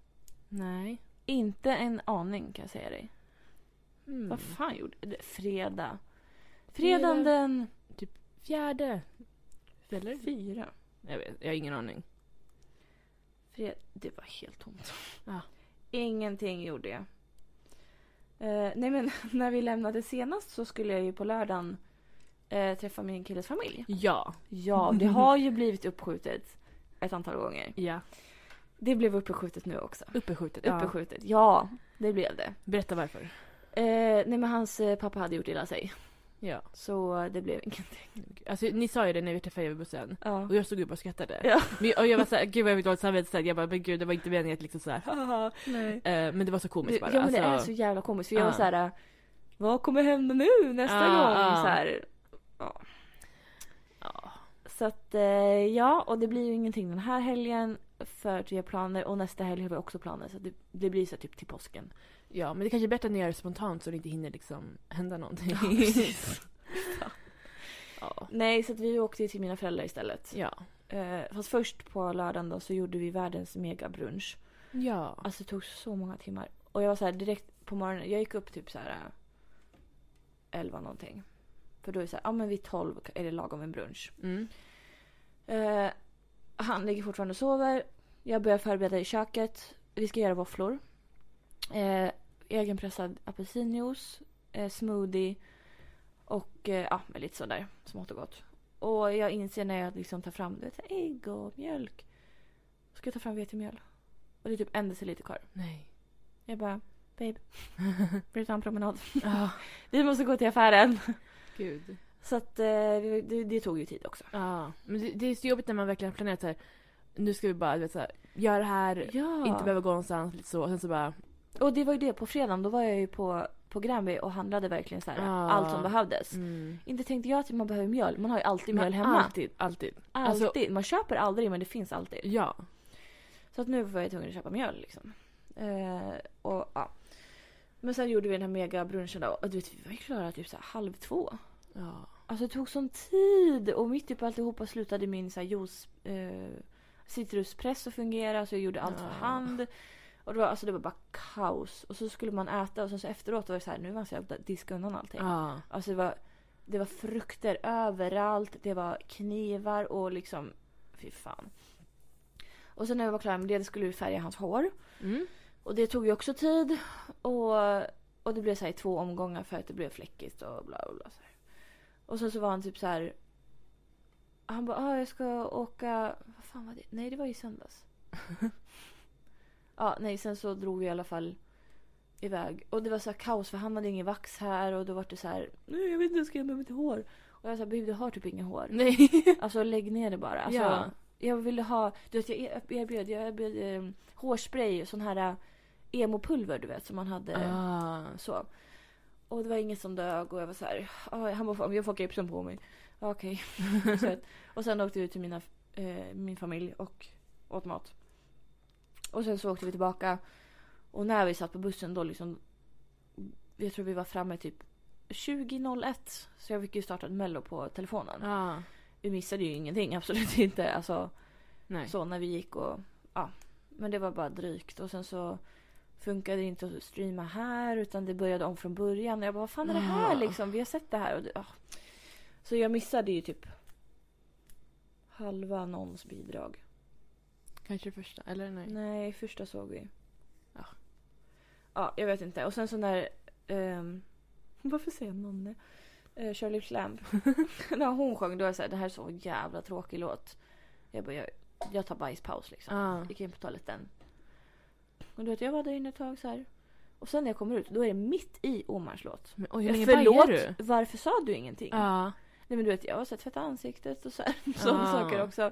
Speaker 2: Nej.
Speaker 1: Inte en aning kan jag säga dig.
Speaker 2: Mm.
Speaker 1: Vad fan gjorde jag? Fredag.
Speaker 2: Fredag.
Speaker 1: Fredagen den
Speaker 2: Fjärde. Eller?
Speaker 1: fyra.
Speaker 2: Jag vet, jag har ingen aning.
Speaker 1: Fred... Det var helt tomt.
Speaker 2: Ja.
Speaker 1: Ingenting gjorde jag. Eh, nej men när vi lämnade senast så skulle jag ju på lördagen eh, träffa min killes familj.
Speaker 2: Ja.
Speaker 1: Ja, det har ju blivit uppskjutet ett antal gånger.
Speaker 2: Ja.
Speaker 1: Det blev uppskjutet nu också.
Speaker 2: Uppeskjutet. Ja.
Speaker 1: Uppeskjutet, ja. Det blev det.
Speaker 2: Berätta varför.
Speaker 1: Eh, nej men hans eh, pappa hade gjort illa sig.
Speaker 2: Ja.
Speaker 1: Så det blev ingenting.
Speaker 2: Alltså, ni sa ju det när vi träffade er vid bussen.
Speaker 1: Ja.
Speaker 2: Och jag stod upp och skrattade.
Speaker 1: Ja.
Speaker 2: Men, och jag var såhär, gud vad jag fick dåligt samvete. Så här, Jag bara, men gud det var inte meningen att liksom såhär, haha.
Speaker 1: Nej.
Speaker 2: Eh, Men det var så komiskt
Speaker 1: Ja
Speaker 2: bara.
Speaker 1: men det är
Speaker 2: Alltså,
Speaker 1: så jävla komiskt för jag
Speaker 2: Ja.
Speaker 1: var såhär, eh, vad kommer hända nu nästa
Speaker 2: Ja,
Speaker 1: gång?
Speaker 2: ja.
Speaker 1: Så, här.
Speaker 2: ja.
Speaker 1: så att eh, ja, och det blir ju ingenting den här helgen för att vi har planer och nästa helg har vi också planer så att det, det blir så här typ till påsken.
Speaker 2: ja, men det kanske är bättre att ni gör det spontant så det inte hinner liksom hända någonting.
Speaker 1: Ja, precis.
Speaker 2: ja.
Speaker 1: Nej så att vi åkte ju till mina föräldrar istället.
Speaker 2: Ja.
Speaker 1: Eh, fast först på lördagen då så gjorde vi världens megabrunch.
Speaker 2: Ja.
Speaker 1: Alltså det tog så många timmar. Och jag var så här direkt på morgonen, jag gick upp typ så här eh, 11 någonting. För då är det så här, ja men vid 12 är det lagom en brunch.
Speaker 2: Mm.
Speaker 1: Eh, han ligger fortfarande och sover. Jag börjar förbereda i köket. Vi ska göra våfflor. Eh, egenpressad apelsinjuice, eh, smoothie och eh, ja, men lite sådär smått och gott. Och jag inser när jag liksom tar fram du vet, ägg och mjölk. Ska jag ta fram vetemjöl? Och det är typ en deciliter kvar.
Speaker 2: Nej.
Speaker 1: Jag bara, babe, vill du ta en promenad?
Speaker 2: Ja.
Speaker 1: Vi måste gå till affären.
Speaker 2: Gud.
Speaker 1: Så att eh, vi- det, det tog ju tid också.
Speaker 2: Ja. Men det, det är så jobbigt när man verkligen har planerat såhär, nu ska vi bara du vet, så här, göra det här,
Speaker 1: Ja.
Speaker 2: inte behöva gå någonstans lite så. Och sen så bara,
Speaker 1: Och det var ju det, på fredagen då var jag ju på, på Granby och handlade verkligen så här,
Speaker 2: Ah.
Speaker 1: allt som behövdes.
Speaker 2: mm.
Speaker 1: Inte tänkte jag att man behöver mjöl, man har ju alltid mjöl hemma.
Speaker 2: Alltid, alltid.
Speaker 1: Alltid.
Speaker 2: alltså-
Speaker 1: man köper aldrig men det finns alltid.
Speaker 2: Ja.
Speaker 1: Så att nu var jag tvungen att köpa mjöl liksom. Eh, och, ja. Men sen gjorde vi den här megabrunchen då och du vet vi var ju klara typ så här, halv två.
Speaker 2: Ja.
Speaker 1: Alltså det tog sån tid och mitt uppe alltihopa slutade min så här, juice, eh, citruspress att fungera så jag gjorde allt
Speaker 2: Ja.
Speaker 1: för hand. Och det var, alltså, det var bara kaos. Och så skulle man äta och sen så efteråt var det så här, nu var det så jävla diska undan allting.
Speaker 2: ja.
Speaker 1: Alltså det var, det var frukter överallt, det var knivar och liksom, fy fan. Och sen när vi var klara med det, det skulle vi färga hans hår.
Speaker 2: Mm.
Speaker 1: Och det tog ju också tid. Och, och det blev så här i två omgångar för att det blev fläckigt och bla bla bla. Så här. Och sen så var han typ så här. Han bara, ah, jag ska åka... Vad fan var det? Nej, det var i söndags. ja, nej, sen så drog vi i alla fall iväg. Och det var så här kaos för han hade ingen vax här och då var det så här, nej jag vet inte vad jag ska göra med mitt hår. Och jag sa, babe du har typ inget hår.
Speaker 2: Nej.
Speaker 1: Alltså lägg ner det bara. Alltså,
Speaker 2: Ja.
Speaker 1: Jag ville ha, du vet jag er- erbjöd, jag erbjöd eh, hårspray, sån här eh, emopulver du vet som man hade.
Speaker 2: Ah.
Speaker 1: Så. Och det var inget som dög och jag var så här, "Ah, han bara, jag får gipsen på mig. Ja, Okej. Okay. och sen åkte vi ut till mina, eh, min familj och åt mat. Och sen så åkte vi tillbaka. Och när vi satt på bussen då liksom, jag tror vi var framme typ 20.01. Så jag fick ju starta en mello på telefonen.
Speaker 2: Ah.
Speaker 1: Vi missade ju ingenting, absolut inte. Alltså,
Speaker 2: Nej.
Speaker 1: så när vi gick och ja. Men det var bara drygt och sen så funkade det inte att streama här utan det började om från början. Jag bara vad fan är det här
Speaker 2: Ah.
Speaker 1: liksom? Vi har sett det här. Och det, ah. Så jag missade ju typ halva någons bidrag.
Speaker 2: Kanske första, eller nej.
Speaker 1: Nej, första såg vi.
Speaker 2: Ja.
Speaker 1: Ja, jag vet inte. Och sen så när... ehm, varför säger jag nonne? Eh, Shirley Clamp. när hon sjöng då var jag såhär, det här är så jävla tråkig låt. Jag bara, jag, jag tar bajspaus liksom.
Speaker 2: Ah.
Speaker 1: Gick in på toaletten. Och du vet, jag var där inne ett tag så här. Och sen när jag kommer ut, då är det mitt i Omars låt.
Speaker 2: Men, oj, hur länge bajar du?
Speaker 1: Förlåt, varför sa du ingenting?
Speaker 2: Ja.
Speaker 1: Nej men du vet, jag har sett tvätta ansiktet och så här, sådana
Speaker 2: Ah.
Speaker 1: saker också.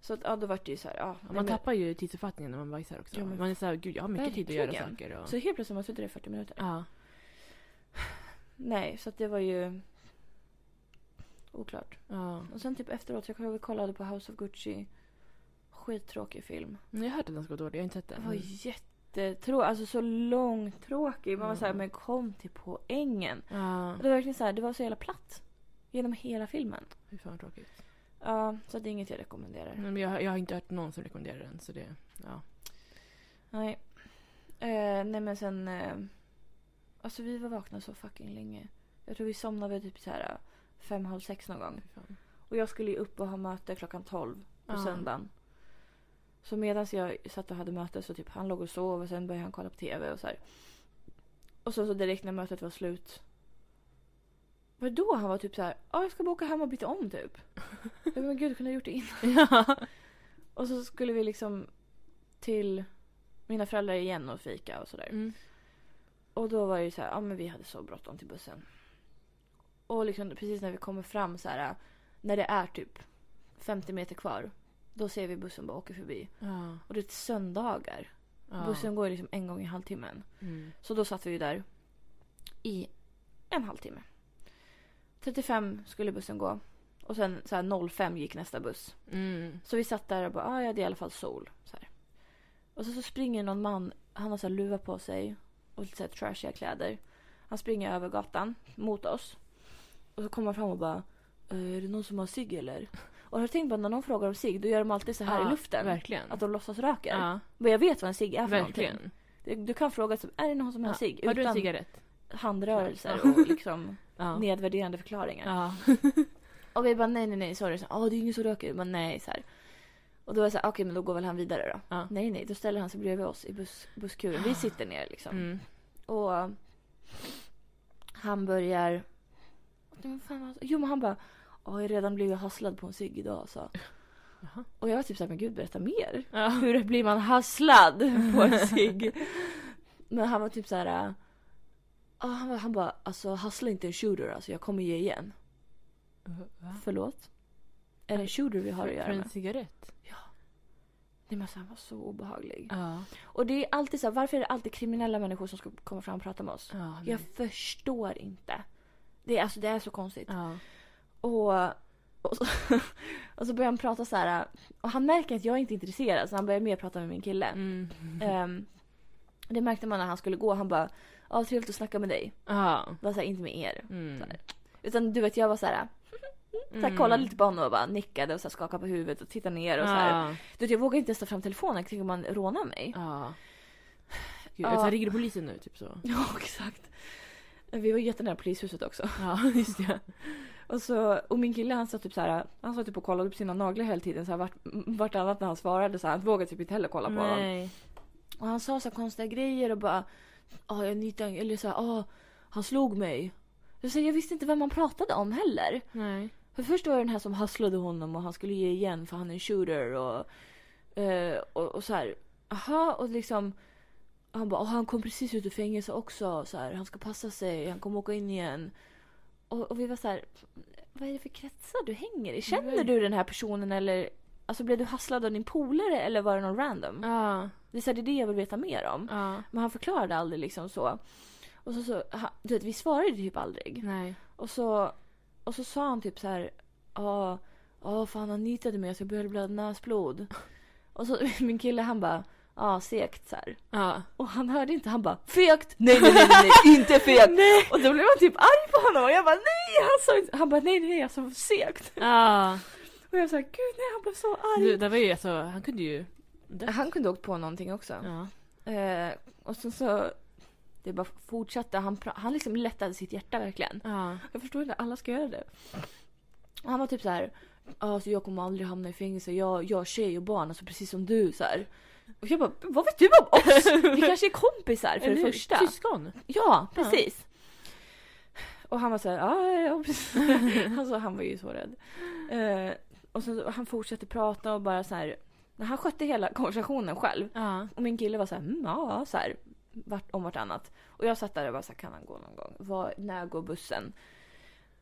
Speaker 1: Så att, ja då vart det ju så här, ja. nej,
Speaker 2: Man
Speaker 1: men-
Speaker 2: tappar ju tidsuppfattningen när man bajsar också.
Speaker 1: Ja, men-
Speaker 2: man är såhär, gud jag har mycket tid att göra
Speaker 1: Verkligen.
Speaker 2: saker. Och...
Speaker 1: Så helt plötsligt har man suttit där i 40 minuter.
Speaker 2: Ja.
Speaker 1: Nej, så att det var ju oklart.
Speaker 2: Ja.
Speaker 1: Och sen typ efteråt, jag kollade- kollade på House of Gucci. Skittråkig film.
Speaker 2: Men Jag har hört att den ska vara dålig, jag har inte sett
Speaker 1: Det
Speaker 2: den.
Speaker 1: var
Speaker 2: Mm.
Speaker 1: jättetråkig, alltså så långtråkig. Man var såhär,
Speaker 2: Mm.
Speaker 1: men kom till poängen.
Speaker 2: Ja.
Speaker 1: Det var verkligen såhär, det var så jävla platt. Genom hela filmen.
Speaker 2: Fy fan vad tråkigt.
Speaker 1: Ja, så det är inget jag rekommenderar.
Speaker 2: Men jag, jag har inte hört någon som rekommenderar den så det, ja.
Speaker 1: Nej. Eh, nej men sen... Eh, alltså vi var vakna så fucking länge. Jag tror vi somnade vid typ så här eh, fem, halv sex någon gång.
Speaker 2: Fy fan.
Speaker 1: Och jag skulle ju upp och ha möte klockan tolv på
Speaker 2: Ja.
Speaker 1: söndagen. Så medan jag satt och hade möte så typ han låg och sov och sen började han kolla på tv och så här. Och så, så direkt när mötet var slut. Var det då han var typ så här, ja jag ska bara åka hem och byta om typ. jag bara, men gud kunde jag gjort det innan?
Speaker 2: Ja.
Speaker 1: Och så skulle vi liksom till mina föräldrar igen och fika och sådär.
Speaker 2: Mm.
Speaker 1: Och då var det ju så här, ja men vi hade så bråttom till bussen. Och liksom precis när vi kommer fram så här, när det är typ 50 meter kvar. Då ser vi bussen bara åka förbi.
Speaker 2: Ja.
Speaker 1: Och det är söndagar.
Speaker 2: Ja.
Speaker 1: Bussen går ju liksom en gång i halvtimmen.
Speaker 2: Mm.
Speaker 1: Så då satt vi ju där i en halvtimme. 35 skulle bussen gå. Och sen så här 05 gick nästa buss.
Speaker 2: Mm.
Speaker 1: Så vi satt där och bara, ah, ja det är i alla fall sol. Så här. Och så, så springer någon man, han har så här luva på sig och lite så här trashiga kläder. Han springer över gatan mot oss. Och så kommer han fram och bara, "Eh, är det någon som har cigg eller? Och har du tänkt på att när någon frågar om cigg då gör de alltid så här
Speaker 2: Ja,
Speaker 1: i luften.
Speaker 2: Verkligen.
Speaker 1: Att de låtsas röker.
Speaker 2: ja.
Speaker 1: Men jag vet vad en cigg är för någonting.
Speaker 2: Verkligen.
Speaker 1: Du, du kan fråga typ, är det någon som har
Speaker 2: Ja.
Speaker 1: cigg?
Speaker 2: Har du en
Speaker 1: Utan
Speaker 2: cigarett?
Speaker 1: handrörelser
Speaker 2: Ja.
Speaker 1: och liksom
Speaker 2: Ja.
Speaker 1: nedvärderande förklaringar.
Speaker 2: Ja.
Speaker 1: Och vi bara nej, nej, nej, sorry. Så, Åh, det är ingen som röker. Men nej, så här. Och då var jag så här, okej, men då går väl han vidare då.
Speaker 2: Ja. Ah.
Speaker 1: Nej, nej, då ställer han sig bredvid oss i bus, busskuren. Vi sitter ner liksom.
Speaker 2: Mm.
Speaker 1: Och eh, han börjar... Vad fan var det? Jo, men han bara, Åh, jag har redan blivit hasslad på en cigg idag så.
Speaker 2: Jaha.
Speaker 1: Och jag var typ såhär, men gud berätta mer.
Speaker 2: Ja.
Speaker 1: Hur blir man hasslad på en cigg? men han var typ så här. eh, ah, han, bara- han bara, alltså hassla inte en shooter alltså, jag kommer ge igen.
Speaker 2: Va?
Speaker 1: Förlåt? Är det en shooter vi har att
Speaker 2: För
Speaker 1: göra
Speaker 2: en
Speaker 1: med?
Speaker 2: cigarett?
Speaker 1: Nej men alltså, han var så obehaglig.
Speaker 2: Ja.
Speaker 1: Och det är alltid så här, varför är det alltid kriminella människor som ska komma fram och prata med oss?
Speaker 2: Ja.
Speaker 1: Jag
Speaker 2: nej.
Speaker 1: förstår inte. Det är, alltså, det är så konstigt.
Speaker 2: Ja.
Speaker 1: Och, och, så, och så börjar han prata så här. Och han märker att jag inte är intresserad så han börjar mer prata med min kille.
Speaker 2: Mm.
Speaker 1: Ehm, det märkte man när han skulle gå. Han bara, ja trevligt att snacka med dig.
Speaker 2: Ja.
Speaker 1: Det var så här, inte med er.
Speaker 2: Mm.
Speaker 1: Så här. Utan du vet jag var så här, så här
Speaker 2: Mm.
Speaker 1: kollade lite på honom och bara nickade och så här, skakade på huvudet och tittade ner och så här.
Speaker 2: Ja.
Speaker 1: Du vet, jag vågar inte ens ta fram telefonen. Jag tänker om man rånar mig.
Speaker 2: Ja. Gud,
Speaker 1: Ja.
Speaker 2: alltså, ringer du polisen nu? Typ så.
Speaker 1: Ja, exakt. Vi var jättenära polishuset också.
Speaker 2: Ja, just det.
Speaker 1: Och, så, och min kille han satt typ så här, han satt typ och kollade på sina naglar hela tiden. Så här, vart, vartannat när han svarade så här, han vågade typ inte heller kolla på honom.
Speaker 2: Nej.
Speaker 1: Och han sa så här konstiga grejer och bara, ja jag nitade, eller så här, ja han slog mig. Jag, så här, jag visste inte vem man pratade om heller.
Speaker 2: Nej.
Speaker 1: För först var det den här som hasslade honom och han skulle ge igen för han är en shooter och, eh, och, och så här. Aha, och liksom. Han bara, "Åh, han kom precis ut ur fängelse också. Så här, han ska passa sig, han kommer åka in igen. Och, och vi var så här, vad är det för kretsar du hänger i? Känner
Speaker 2: Mm.
Speaker 1: du den här personen eller? Alltså blev du hasslad av din polare eller var det någon random?
Speaker 2: Ja.
Speaker 1: Det är, så här, det, är det jag vill veta mer om.
Speaker 2: Ja.
Speaker 1: Men han förklarade aldrig liksom så. Och så, så han, du vet, vi svarade typ aldrig.
Speaker 2: Nej.
Speaker 1: Och så, och så sa han typ så här. Ja, ja fan han nitade mig så jag började blöda näsblod. Och så min kille han bara. Ja segt så här.
Speaker 2: Ja.
Speaker 1: Och han hörde inte han bara fegt. Nej nej nej nej, nej inte fegt. Och då blev han typ arg på honom och jag bara nej han sa inte. Han bara nej nej nej jag sa segt.
Speaker 2: Ja.
Speaker 1: Och jag sa gud nej han blev så
Speaker 2: Du,
Speaker 1: arg.
Speaker 2: det var ju alltså, han kunde ju...
Speaker 1: Han kunde åkt på någonting också.
Speaker 2: Ja.
Speaker 1: Eh, och sen så. Det bara fortsatte. Han, pra- han liksom lättade sitt hjärta verkligen.
Speaker 2: Ja.
Speaker 1: Jag förstår inte, alla ska göra det. Och han var typ så här, alltså jag kommer aldrig hamna i fängelse, jag, jag är tjej och barn, alltså precis som du så här. Och jag bara, vad vet du om oss? Vi kanske är kompisar för det
Speaker 2: Eller hur?
Speaker 1: första.
Speaker 2: Syskon.
Speaker 1: Ja, precis. Och han var så här, ja, ja precis. alltså han var ju så rädd. Eh, och så, han fortsatte prata och bara så här, han skötte hela konversationen själv.
Speaker 2: Ja.
Speaker 1: Och min kille var så här, mm, ja, så här, vart, om vartannat. Och jag satt där och bara så här, kan han gå någon gång? Var, när går bussen?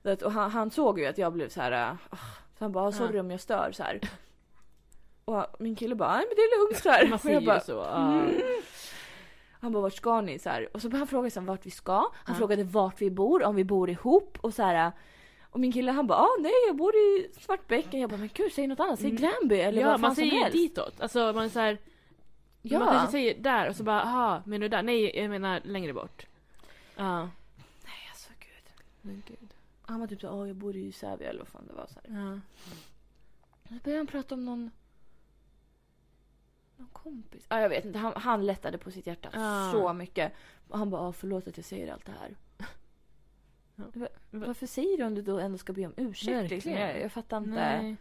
Speaker 1: Du Vet, och han, han såg ju att jag blev så här, ah, så han bara, sorry
Speaker 2: Ja.
Speaker 1: om jag stör så här. Och min kille bara, nej men det är lugnt så här.
Speaker 2: Man
Speaker 1: Och
Speaker 2: ser
Speaker 1: jag
Speaker 2: ju
Speaker 1: bara, mm.
Speaker 2: så. Ja.
Speaker 1: han bara, vart ska ni? Så här. Och så började han fråga sen vart vi ska. Han
Speaker 2: Ja.
Speaker 1: frågade vart vi bor, om vi bor ihop och så här. Och min kille han bara, ah, nej jag bor i Svartbäcken. Jag bara, men gud säg något annat, säg
Speaker 2: Mm.
Speaker 1: Gränby eller
Speaker 2: ja,
Speaker 1: vad fan
Speaker 2: man
Speaker 1: som
Speaker 2: säger ju
Speaker 1: helst.
Speaker 2: ditåt. Alltså man är så här,
Speaker 1: Ja.
Speaker 2: Man kanske säger där och så bara aha, menar du där? Nej, jag menar längre bort. Ja.
Speaker 1: Nej alltså gud.
Speaker 2: Men gud.
Speaker 1: Han var typ såhär, "Åh, jag bor i Säby eller vad fan det var. Så här.
Speaker 2: Ja.
Speaker 1: Nu började han prata om någon... Någon kompis. Ah, jag vet inte, han, han lättade på sitt hjärta
Speaker 2: Ja.
Speaker 1: så mycket. Och han bara, ah, förlåt att jag säger allt det här.
Speaker 2: Ja.
Speaker 1: Jag bara, Varför säger du om du då ändå ska be om ursäkt? Liksom?
Speaker 2: Verkligen.
Speaker 1: Jag, jag fattar inte
Speaker 2: Nej.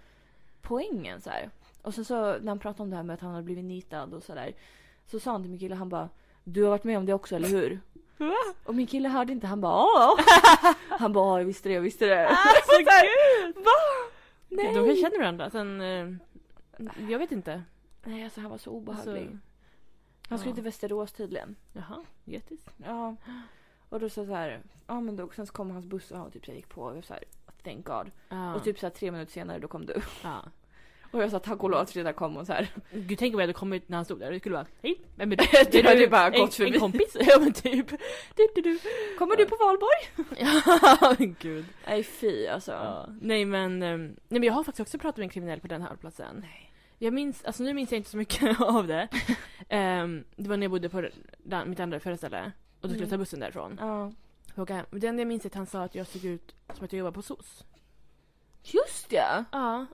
Speaker 1: poängen så här. Och sen så när han pratade om det här med att han hade blivit nitad och sådär. Så sa han till min kille, han bara Du har varit med om det också eller hur? Och min kille hörde inte, han bara "Ja." Han bara "Ja, jag visste det, jag visste det.
Speaker 2: Alltså gud!
Speaker 1: Nej.
Speaker 2: De kanske känner varandra sen... Eh, jag vet inte.
Speaker 1: Nej alltså han var så
Speaker 2: Alltså,
Speaker 1: obehaglig. Han skulle
Speaker 2: ja.
Speaker 1: till Västerås tydligen.
Speaker 2: Jaha, grattis.
Speaker 1: Ja. Och då så så här, ja men då, sen så kom hans buss och han typ så här gick på och jag så här, thank god.
Speaker 2: Ja.
Speaker 1: Och typ så här tre minuter senare då kom du.
Speaker 2: ja.
Speaker 1: Och jag sa tack och lov att Frida kom och så här.
Speaker 2: Gud tänk om jag hade kommit när han stod där. Det skulle vara hej, vem är du?
Speaker 1: Du
Speaker 2: Är
Speaker 1: hade bara
Speaker 2: en,
Speaker 1: gått förbi.
Speaker 2: En kompis? ja men typ. Du, du, du.
Speaker 1: Kommer du på valborg?
Speaker 2: Ja, men gud.
Speaker 1: Nej fy alltså.
Speaker 2: Ja. Nej men, ehm, nej men jag har faktiskt också pratat med en kriminell på den här platsen.
Speaker 1: Nej.
Speaker 2: Jag minns, alltså nu minns jag inte så mycket av det. Ehm, det var när jag bodde på den- mitt andra förra ställe. Och då skulle jag ta
Speaker 1: Mm.
Speaker 2: bussen därifrån.
Speaker 1: Ja.
Speaker 2: Och, eh, det enda jag minns är att han sa att jag såg ut som att jag jobbar på SOS.
Speaker 1: Just ja.
Speaker 2: Ja.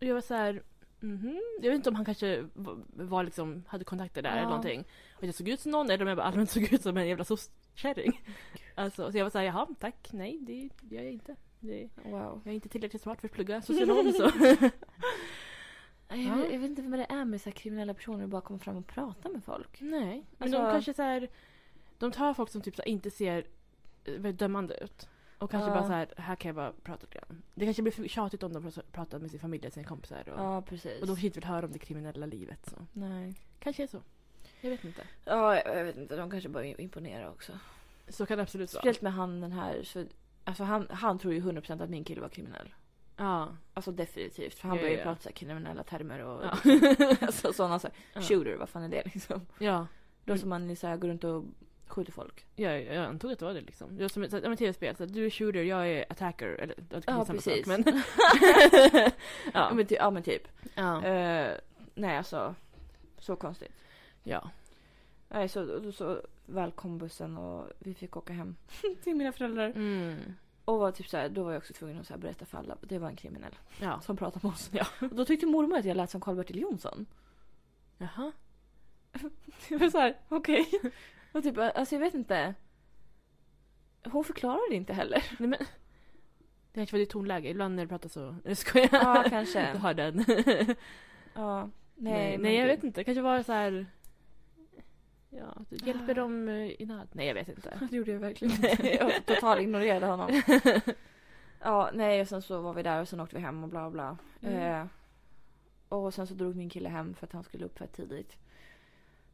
Speaker 2: Och jag var så här. mhm. Jag vet inte om han kanske var, var liksom, hade kontakter där
Speaker 1: Ja.
Speaker 2: eller någonting. Och jag såg ut som någon eller om jag bara allmänt såg ut som en jävla soskärring. Alltså, så jag var såhär, jaha tack, nej det gör jag inte. Det,
Speaker 1: Wow.
Speaker 2: jag är inte tillräckligt smart för att plugga socionom så.
Speaker 1: Jag,
Speaker 2: Ja.
Speaker 1: jag vet inte vad det är med så här kriminella personer att bara komma fram och prata med folk.
Speaker 2: nej. Men
Speaker 1: Alltså-
Speaker 2: de kanske såhär, de tar folk som typ så här, inte ser eh, väldigt dömande ut. Och kanske
Speaker 1: Ja.
Speaker 2: bara så här, här kan jag bara prata lite grann. Det kanske blir för tjatigt om de pr- pratar med sin familj eller sina kompisar. Och,
Speaker 1: Ja, precis.
Speaker 2: och de kanske inte vill höra om det kriminella livet. Så.
Speaker 1: Nej.
Speaker 2: Kanske är så. Jag vet inte.
Speaker 1: Ja, jag, jag vet inte. De kanske bara imponerar också.
Speaker 2: Så kan det absolut vara.
Speaker 1: Speciellt med han den här. Så, alltså han, han tror ju 100% att min kille var kriminell.
Speaker 2: Ja.
Speaker 1: Alltså definitivt. För han
Speaker 2: Ja,
Speaker 1: börjar ju
Speaker 2: ja, ja.
Speaker 1: prata så här kriminella termer och
Speaker 2: Ja.
Speaker 1: alltså, sådana så här,
Speaker 2: Ja.
Speaker 1: shooter, vad fan är det liksom?
Speaker 2: ja.
Speaker 1: De som man så här, går runt och skjuter folk.
Speaker 2: Ja, jag antog att det var det liksom. Jag som ett ja, men tv-spel, så att du är shooter, jag är attacker. Eller, det är samma sak,
Speaker 1: precis.
Speaker 2: Men,
Speaker 1: Ja,
Speaker 2: ja.
Speaker 1: men, ty- ja, men typ.
Speaker 2: ja.
Speaker 1: Eh, nej alltså, så konstigt.
Speaker 2: ja.
Speaker 1: Nej, så, då så väl kom bussen och vi fick åka hem till mina föräldrar.
Speaker 2: Mm.
Speaker 1: Och var typ så här, då var jag också tvungen att så här berätta för alla. Det var en kriminell
Speaker 2: Ja.
Speaker 1: som pratade med oss. Och då tyckte mormor att jag lät som Karl-Bertil Jonsson.
Speaker 2: Jaha.
Speaker 1: Jag var så här, okej. Och typ, alltså jag vet inte. Hon förklarade inte heller.
Speaker 2: Nej men. Det kanske var ditt tonläge, ibland när du pratar så. Jag skojar.
Speaker 1: Ja,
Speaker 2: Du
Speaker 1: kanske.
Speaker 2: har den.
Speaker 1: Ja.
Speaker 2: Nej,
Speaker 1: men
Speaker 2: nej jag
Speaker 1: gud.
Speaker 2: vet inte. Kanske var det så här. Ja, du hjälper
Speaker 1: Ah.
Speaker 2: dem eh, i nöd. Nej, jag vet inte.
Speaker 1: Det gjorde jag verkligen inte. Jag totalt ignorerade honom. Ja, nej och sen så var vi där och sen åkte vi hem och bla bla.
Speaker 2: Mm.
Speaker 1: Eh, och sen så drog min kille hem för att han skulle upp för tidigt.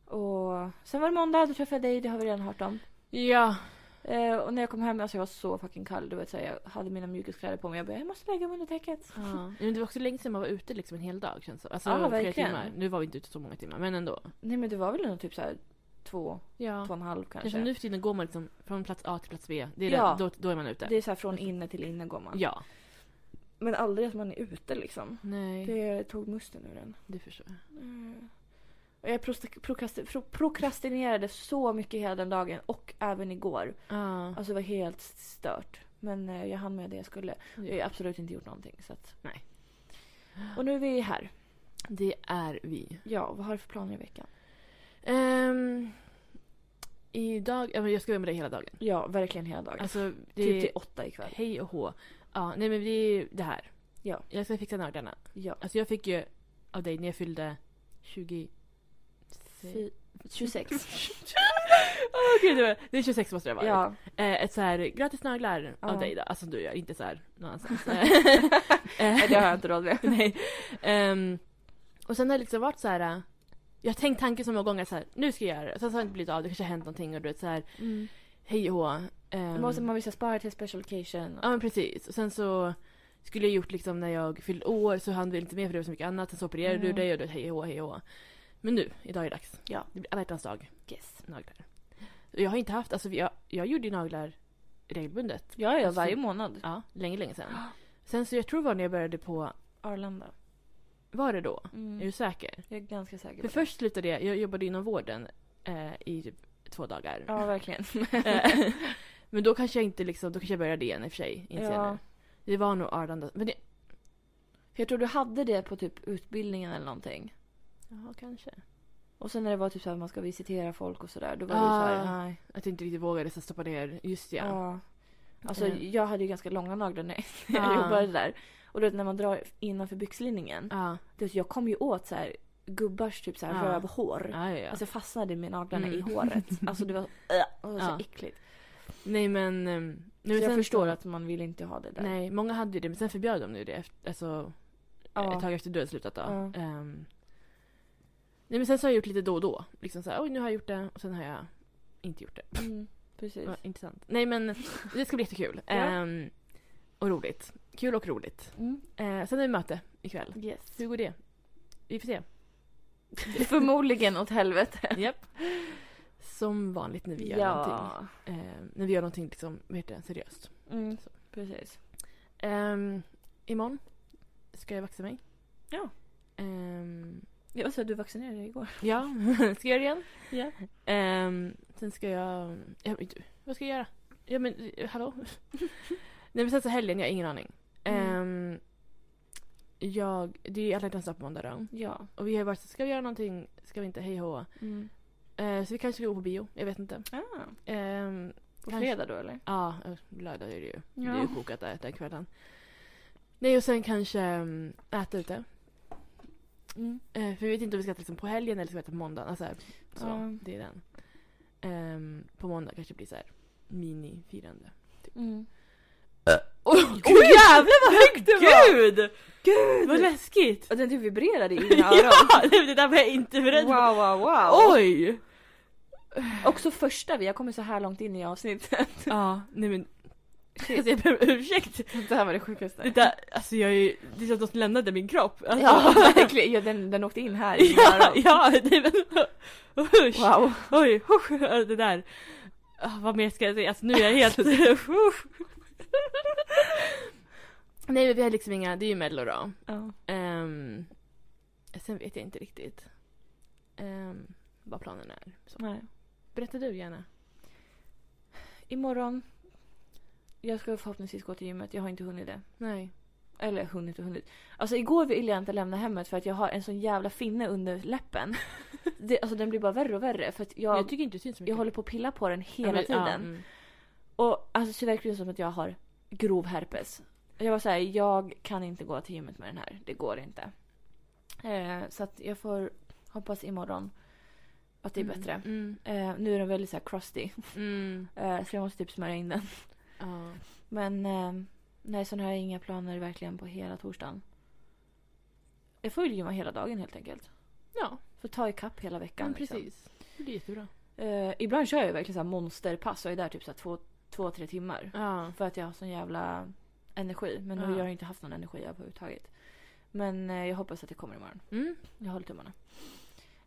Speaker 1: Och sen var det måndag, då träffade jag dig, det har vi redan hört om.
Speaker 2: Ja.
Speaker 1: Eh, och när jag kom hem, alltså jag var så fucking kall. Du vet så här, jag hade mina mjukiskläder på mig. Jag bara, jag måste lägga mig under täcket.
Speaker 2: Ja. Men det var också länge sedan man var ute liksom en hel dag känns det Alltså
Speaker 1: Ja,
Speaker 2: flera
Speaker 1: verkligen.
Speaker 2: timmar. Nu var vi inte ute så många timmar, men ändå.
Speaker 1: Nej men det var väl ändå typ så här två,
Speaker 2: Ja.
Speaker 1: två och en halv kanske.
Speaker 2: Kanske nu för tiden går man liksom från plats A till plats B. Det är
Speaker 1: Ja.
Speaker 2: det, då, då är man ute.
Speaker 1: Det är så här från inne till inne går man.
Speaker 2: Ja.
Speaker 1: Men aldrig att man är ute liksom.
Speaker 2: Nej, det,
Speaker 1: Det tog musten ur den.
Speaker 2: förstår jag.
Speaker 1: Och jag prosta- prokrasti- pro- prokrastinerade så mycket hela den dagen och även igår.
Speaker 2: Ja.
Speaker 1: Alltså det var helt stört. Men eh, jag hann med det jag skulle. Jag har ju absolut inte gjort någonting. Så att...
Speaker 2: Nej.
Speaker 1: Och nu är vi här.
Speaker 2: Det är vi.
Speaker 1: Ja, vad har du för planer i veckan?
Speaker 2: Ehm, idag, ja, men jag ska vara med dig hela dagen.
Speaker 1: Ja, verkligen hela dagen.
Speaker 2: Alltså,
Speaker 1: typ
Speaker 2: det
Speaker 1: till
Speaker 2: är
Speaker 1: åtta ikväll.
Speaker 2: hej och hå. Ja, nej men det är det här.
Speaker 1: Ja.
Speaker 2: Jag ska fixa nördarna.
Speaker 1: Ja.
Speaker 2: Alltså jag fick ju av dig när jag fyllde 20...
Speaker 1: Fy- 26.
Speaker 2: Åh gud, det var- det är 26 måste det vara.
Speaker 1: ja.
Speaker 2: Eh, ett så här gratis naglar
Speaker 1: Ja.
Speaker 2: av dig då. Alltså du gör inte så här någon annanstans. Eh.
Speaker 1: Nej, det har jag inte råd med.
Speaker 2: Nej. Ehm, och sen har det liksom varit så här. äh, Jag har tänkt tanken så många gånger så här, nu ska jag göra det. Sen så har det inte blivit av, det kanske har hänt någonting och du vet så här,
Speaker 1: Mm.
Speaker 2: hej och hå. Ehm,
Speaker 1: Måste man visa spara till special occasion.
Speaker 2: Ja men precis. Och sen så skulle jag gjort liksom när jag fyllde år så hann vi inte med för det var så mycket annat. Sen så opererade du
Speaker 1: Mm.
Speaker 2: dig och du hej och hå, hej och hå. Men nu, idag är det dags.
Speaker 1: Ja.
Speaker 2: Det blir alla hjärtans dag,
Speaker 1: Yes.
Speaker 2: naglar. Och Jag har inte haft, alltså jag, jag gjorde ju naglar regelbundet.
Speaker 1: Ja, ja,
Speaker 2: Alltså-
Speaker 1: varje månad.
Speaker 2: Ja, länge, länge sedan. Sen så jag tror det var när jag började på
Speaker 1: Arlanda.
Speaker 2: Var det då?
Speaker 1: Mm.
Speaker 2: Är du säker?
Speaker 1: Jag är ganska säker
Speaker 2: För
Speaker 1: på
Speaker 2: först slutade jag, jag jobbade inom vården eh, i typ två dagar.
Speaker 1: det. Ja, verkligen.
Speaker 2: Eh, men då kanske jag inte liksom, då kanske jag började igen i och för sig. Inser jag
Speaker 1: Ja.
Speaker 2: nu. Det var nog Arlanda. Men det,
Speaker 1: För jag tror du hade det på typ utbildningen eller någonting.
Speaker 2: ja, kanske.
Speaker 1: Och sen när det var typ så här man ska visitera folk och sådär. Då var det så
Speaker 2: Ah,
Speaker 1: här.
Speaker 2: nej, att jag inte riktigt vågade så stoppa ner. Just det, ja.
Speaker 1: Ja. Alltså
Speaker 2: Mm.
Speaker 1: jag hade ju ganska långa naglar när jag
Speaker 2: Ah.
Speaker 1: jobbade där. Och du vet när man drar innanför byxlinningen.
Speaker 2: Ja,
Speaker 1: Du vet, jag kom ju åt så här gubbars typ så här
Speaker 2: Ah.
Speaker 1: rövhår.
Speaker 2: ja, ja. ja.
Speaker 1: Alltså jag fastnade med naglarna
Speaker 2: Mm.
Speaker 1: i håret. Alltså det var, äh, det var så
Speaker 2: Ja.
Speaker 1: äckligt.
Speaker 2: nej men... ehm, nej, men
Speaker 1: Så jag
Speaker 2: sen-
Speaker 1: förstår att man vill inte ha det där.
Speaker 2: Nej, många hade ju det men sen förbjöd de ju det. Efter, alltså,
Speaker 1: Ja.
Speaker 2: ett tag efter du hade slutat då.
Speaker 1: Ja.
Speaker 2: Ehm, nej men sen så har jag gjort lite då och då. Liksom såhär, oj nu har jag gjort det och sen har jag inte gjort det.
Speaker 1: Mm, precis.
Speaker 2: Vad intressant. Nej men det ska bli jättekul.
Speaker 1: Ja.
Speaker 2: Ehm, och roligt. Kul och roligt.
Speaker 1: Mm.
Speaker 2: Eh, sen är det möte ikväll.
Speaker 1: Yes.
Speaker 2: Hur går det? Vi får se.
Speaker 1: Förmodligen åt helvete.
Speaker 2: Japp. Som vanligt när vi gör någonting. Ehm, när vi gör någonting liksom, vad heter det, seriöst.
Speaker 1: Mm,
Speaker 2: Så.
Speaker 1: precis.
Speaker 2: Um, imorgon ska jag vaxa mig.
Speaker 1: Ja.
Speaker 2: Ehm,
Speaker 1: Jag sa att du vaccinerade dig igår.
Speaker 2: Ja, ska jag göra det igen?
Speaker 1: Ja.
Speaker 2: Ehm, sen ska jag... Ja, men du, vad ska jag göra? Ja men eh, hallå? Nej men sen så helgen, jag har ingen aning.
Speaker 1: Mm.
Speaker 2: Ehm, jag, det är ju alla hjärtans dag på måndag då.
Speaker 1: Ja.
Speaker 2: Och vi har ju varit så ska vi göra någonting? Ska vi inte? Hej hå.
Speaker 1: Mm.
Speaker 2: Eh, så vi kanske ska gå på bio, jag vet inte.
Speaker 1: Ah,
Speaker 2: Ehm,
Speaker 1: på
Speaker 2: Kanske.
Speaker 1: fredag då eller?
Speaker 2: Ja, eh, lördag är det ju.
Speaker 1: Ja.
Speaker 2: Det är ju kokat där den kvällen. Nej och sen kanske um, äta ute.
Speaker 1: Mm.
Speaker 2: Eh, för vi vet inte om vi ska äta liksom på helgen eller ska vi äta på måndagen. Alltså, så,
Speaker 1: Ja.
Speaker 2: Det är den. Ehm, på måndag kanske det blir så här minifirande.
Speaker 1: Mm.
Speaker 2: Åh
Speaker 1: Åh jävlar vad högt det var!
Speaker 2: gud!
Speaker 1: Gud!
Speaker 2: Vad läskigt!
Speaker 1: Och den typ vibrerade i dina öron.
Speaker 2: ja, nej, men det där var jag inte beredd på.
Speaker 1: Wow wow wow!
Speaker 2: Oj!
Speaker 1: Också första vi, jag kommer så här långt in i avsnittet.
Speaker 2: Ja, nej men. Alltså, jag ber om ursäkt.
Speaker 1: Det här var det sjukaste.
Speaker 2: Det där, alltså jag är ju, det är som att något lämnade min kropp. Alltså.
Speaker 1: Ja verkligen, ja, den, den åkte in här i dina
Speaker 2: ja,
Speaker 1: öron.
Speaker 2: ja, nej men. Usch.
Speaker 1: Wow.
Speaker 2: Oj, husch, det där. Ah, vad mer ska jag säga? Alltså nu är jag helt... Usch. Nej men vi har liksom inga, det är ju mello då.
Speaker 1: Ja.
Speaker 2: Ehm, sen vet jag inte riktigt ehm, vad planen är. Så.
Speaker 1: Nej.
Speaker 2: Berätta du gärna.
Speaker 1: Imorgon, jag ska förhoppningsvis gå till gymmet, jag har inte hunnit det.
Speaker 2: Nej.
Speaker 1: Eller hunnit och hunnit. Alltså igår ville jag inte lämna hemmet för att jag har en sån jävla finne under läppen. Det, alltså den blir bara värre och värre för att jag,
Speaker 2: Jag
Speaker 1: jag,
Speaker 2: tycker inte det syns så mycket.
Speaker 1: håller på att pilla på den
Speaker 2: Ja,
Speaker 1: hela
Speaker 2: men-
Speaker 1: tiden.
Speaker 2: Ja, mm.
Speaker 1: Och alltså det ser verkligen som att jag har grov herpes. Jag var såhär, jag kan inte gå till gymmet med den här. Det går inte. Eh, så att jag får hoppas imorgon att det är
Speaker 2: Mm,
Speaker 1: bättre.
Speaker 2: Mm.
Speaker 1: Eh, nu är den väldigt såhär crusty.
Speaker 2: Mm.
Speaker 1: Eh, så jag måste typ smörja in den.
Speaker 2: Ja.
Speaker 1: Men eh, nej, sen har jag inga planer verkligen på hela torsdagen. Jag får ju gymma hela dagen helt enkelt.
Speaker 2: ja,
Speaker 1: Får ta ikapp hela veckan.
Speaker 2: men
Speaker 1: liksom.
Speaker 2: precis. Det blir jättebra.
Speaker 1: Eh, ibland kör jag verkligen så här monsterpass och är där typ så här två, två, tre timmar.
Speaker 2: Ja.
Speaker 1: För att jag har sån jävla energi. Men nu
Speaker 2: Ja.
Speaker 1: har jag inte haft någon energi överhuvudtaget. Men eh, jag hoppas att det kommer imorgon.
Speaker 2: Mm.
Speaker 1: Jag håller tummarna.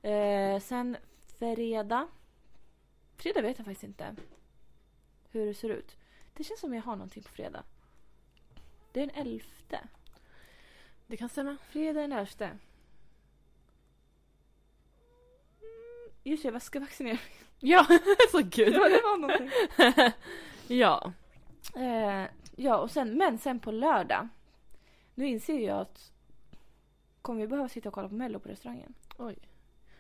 Speaker 1: Eh, sen fredag. Fredag vet jag faktiskt inte hur det ser ut. Det känns som jag har någonting på fredag. Det är den elfte.
Speaker 2: Det kan stämma.
Speaker 1: Fredag den elfte. Mm, Just det, jag bara ska vaccinera mig.
Speaker 2: Ja, så gud.
Speaker 1: Ja, det var någonting.
Speaker 2: ja.
Speaker 1: Eh, ja, och sen, men sen på lördag. Nu inser jag att kommer vi behöva sitta och kolla på Mello på restaurangen?
Speaker 2: Oj.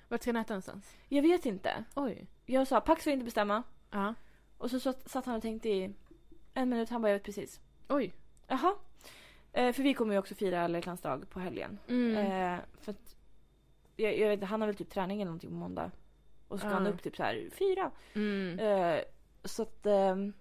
Speaker 2: Vart ska ni äta någonstans?
Speaker 1: Jag vet inte.
Speaker 2: Oj.
Speaker 1: Jag sa Pax får inte bestämma.
Speaker 2: Ja.
Speaker 1: Och så satt satt han och tänkte i en minut. Han bara, jag vet precis.
Speaker 2: Oj.
Speaker 1: Jaha. Eh, för vi kommer ju också fira alla hjärtans dag på helgen.
Speaker 2: Mm.
Speaker 1: Eh, för att, jag, jag vet inte, han har väl typ träning eller någonting på måndag. Och så ska
Speaker 2: Ja.
Speaker 1: han upp typ så här fyra.
Speaker 2: Mm.
Speaker 1: Eh, så att ehm,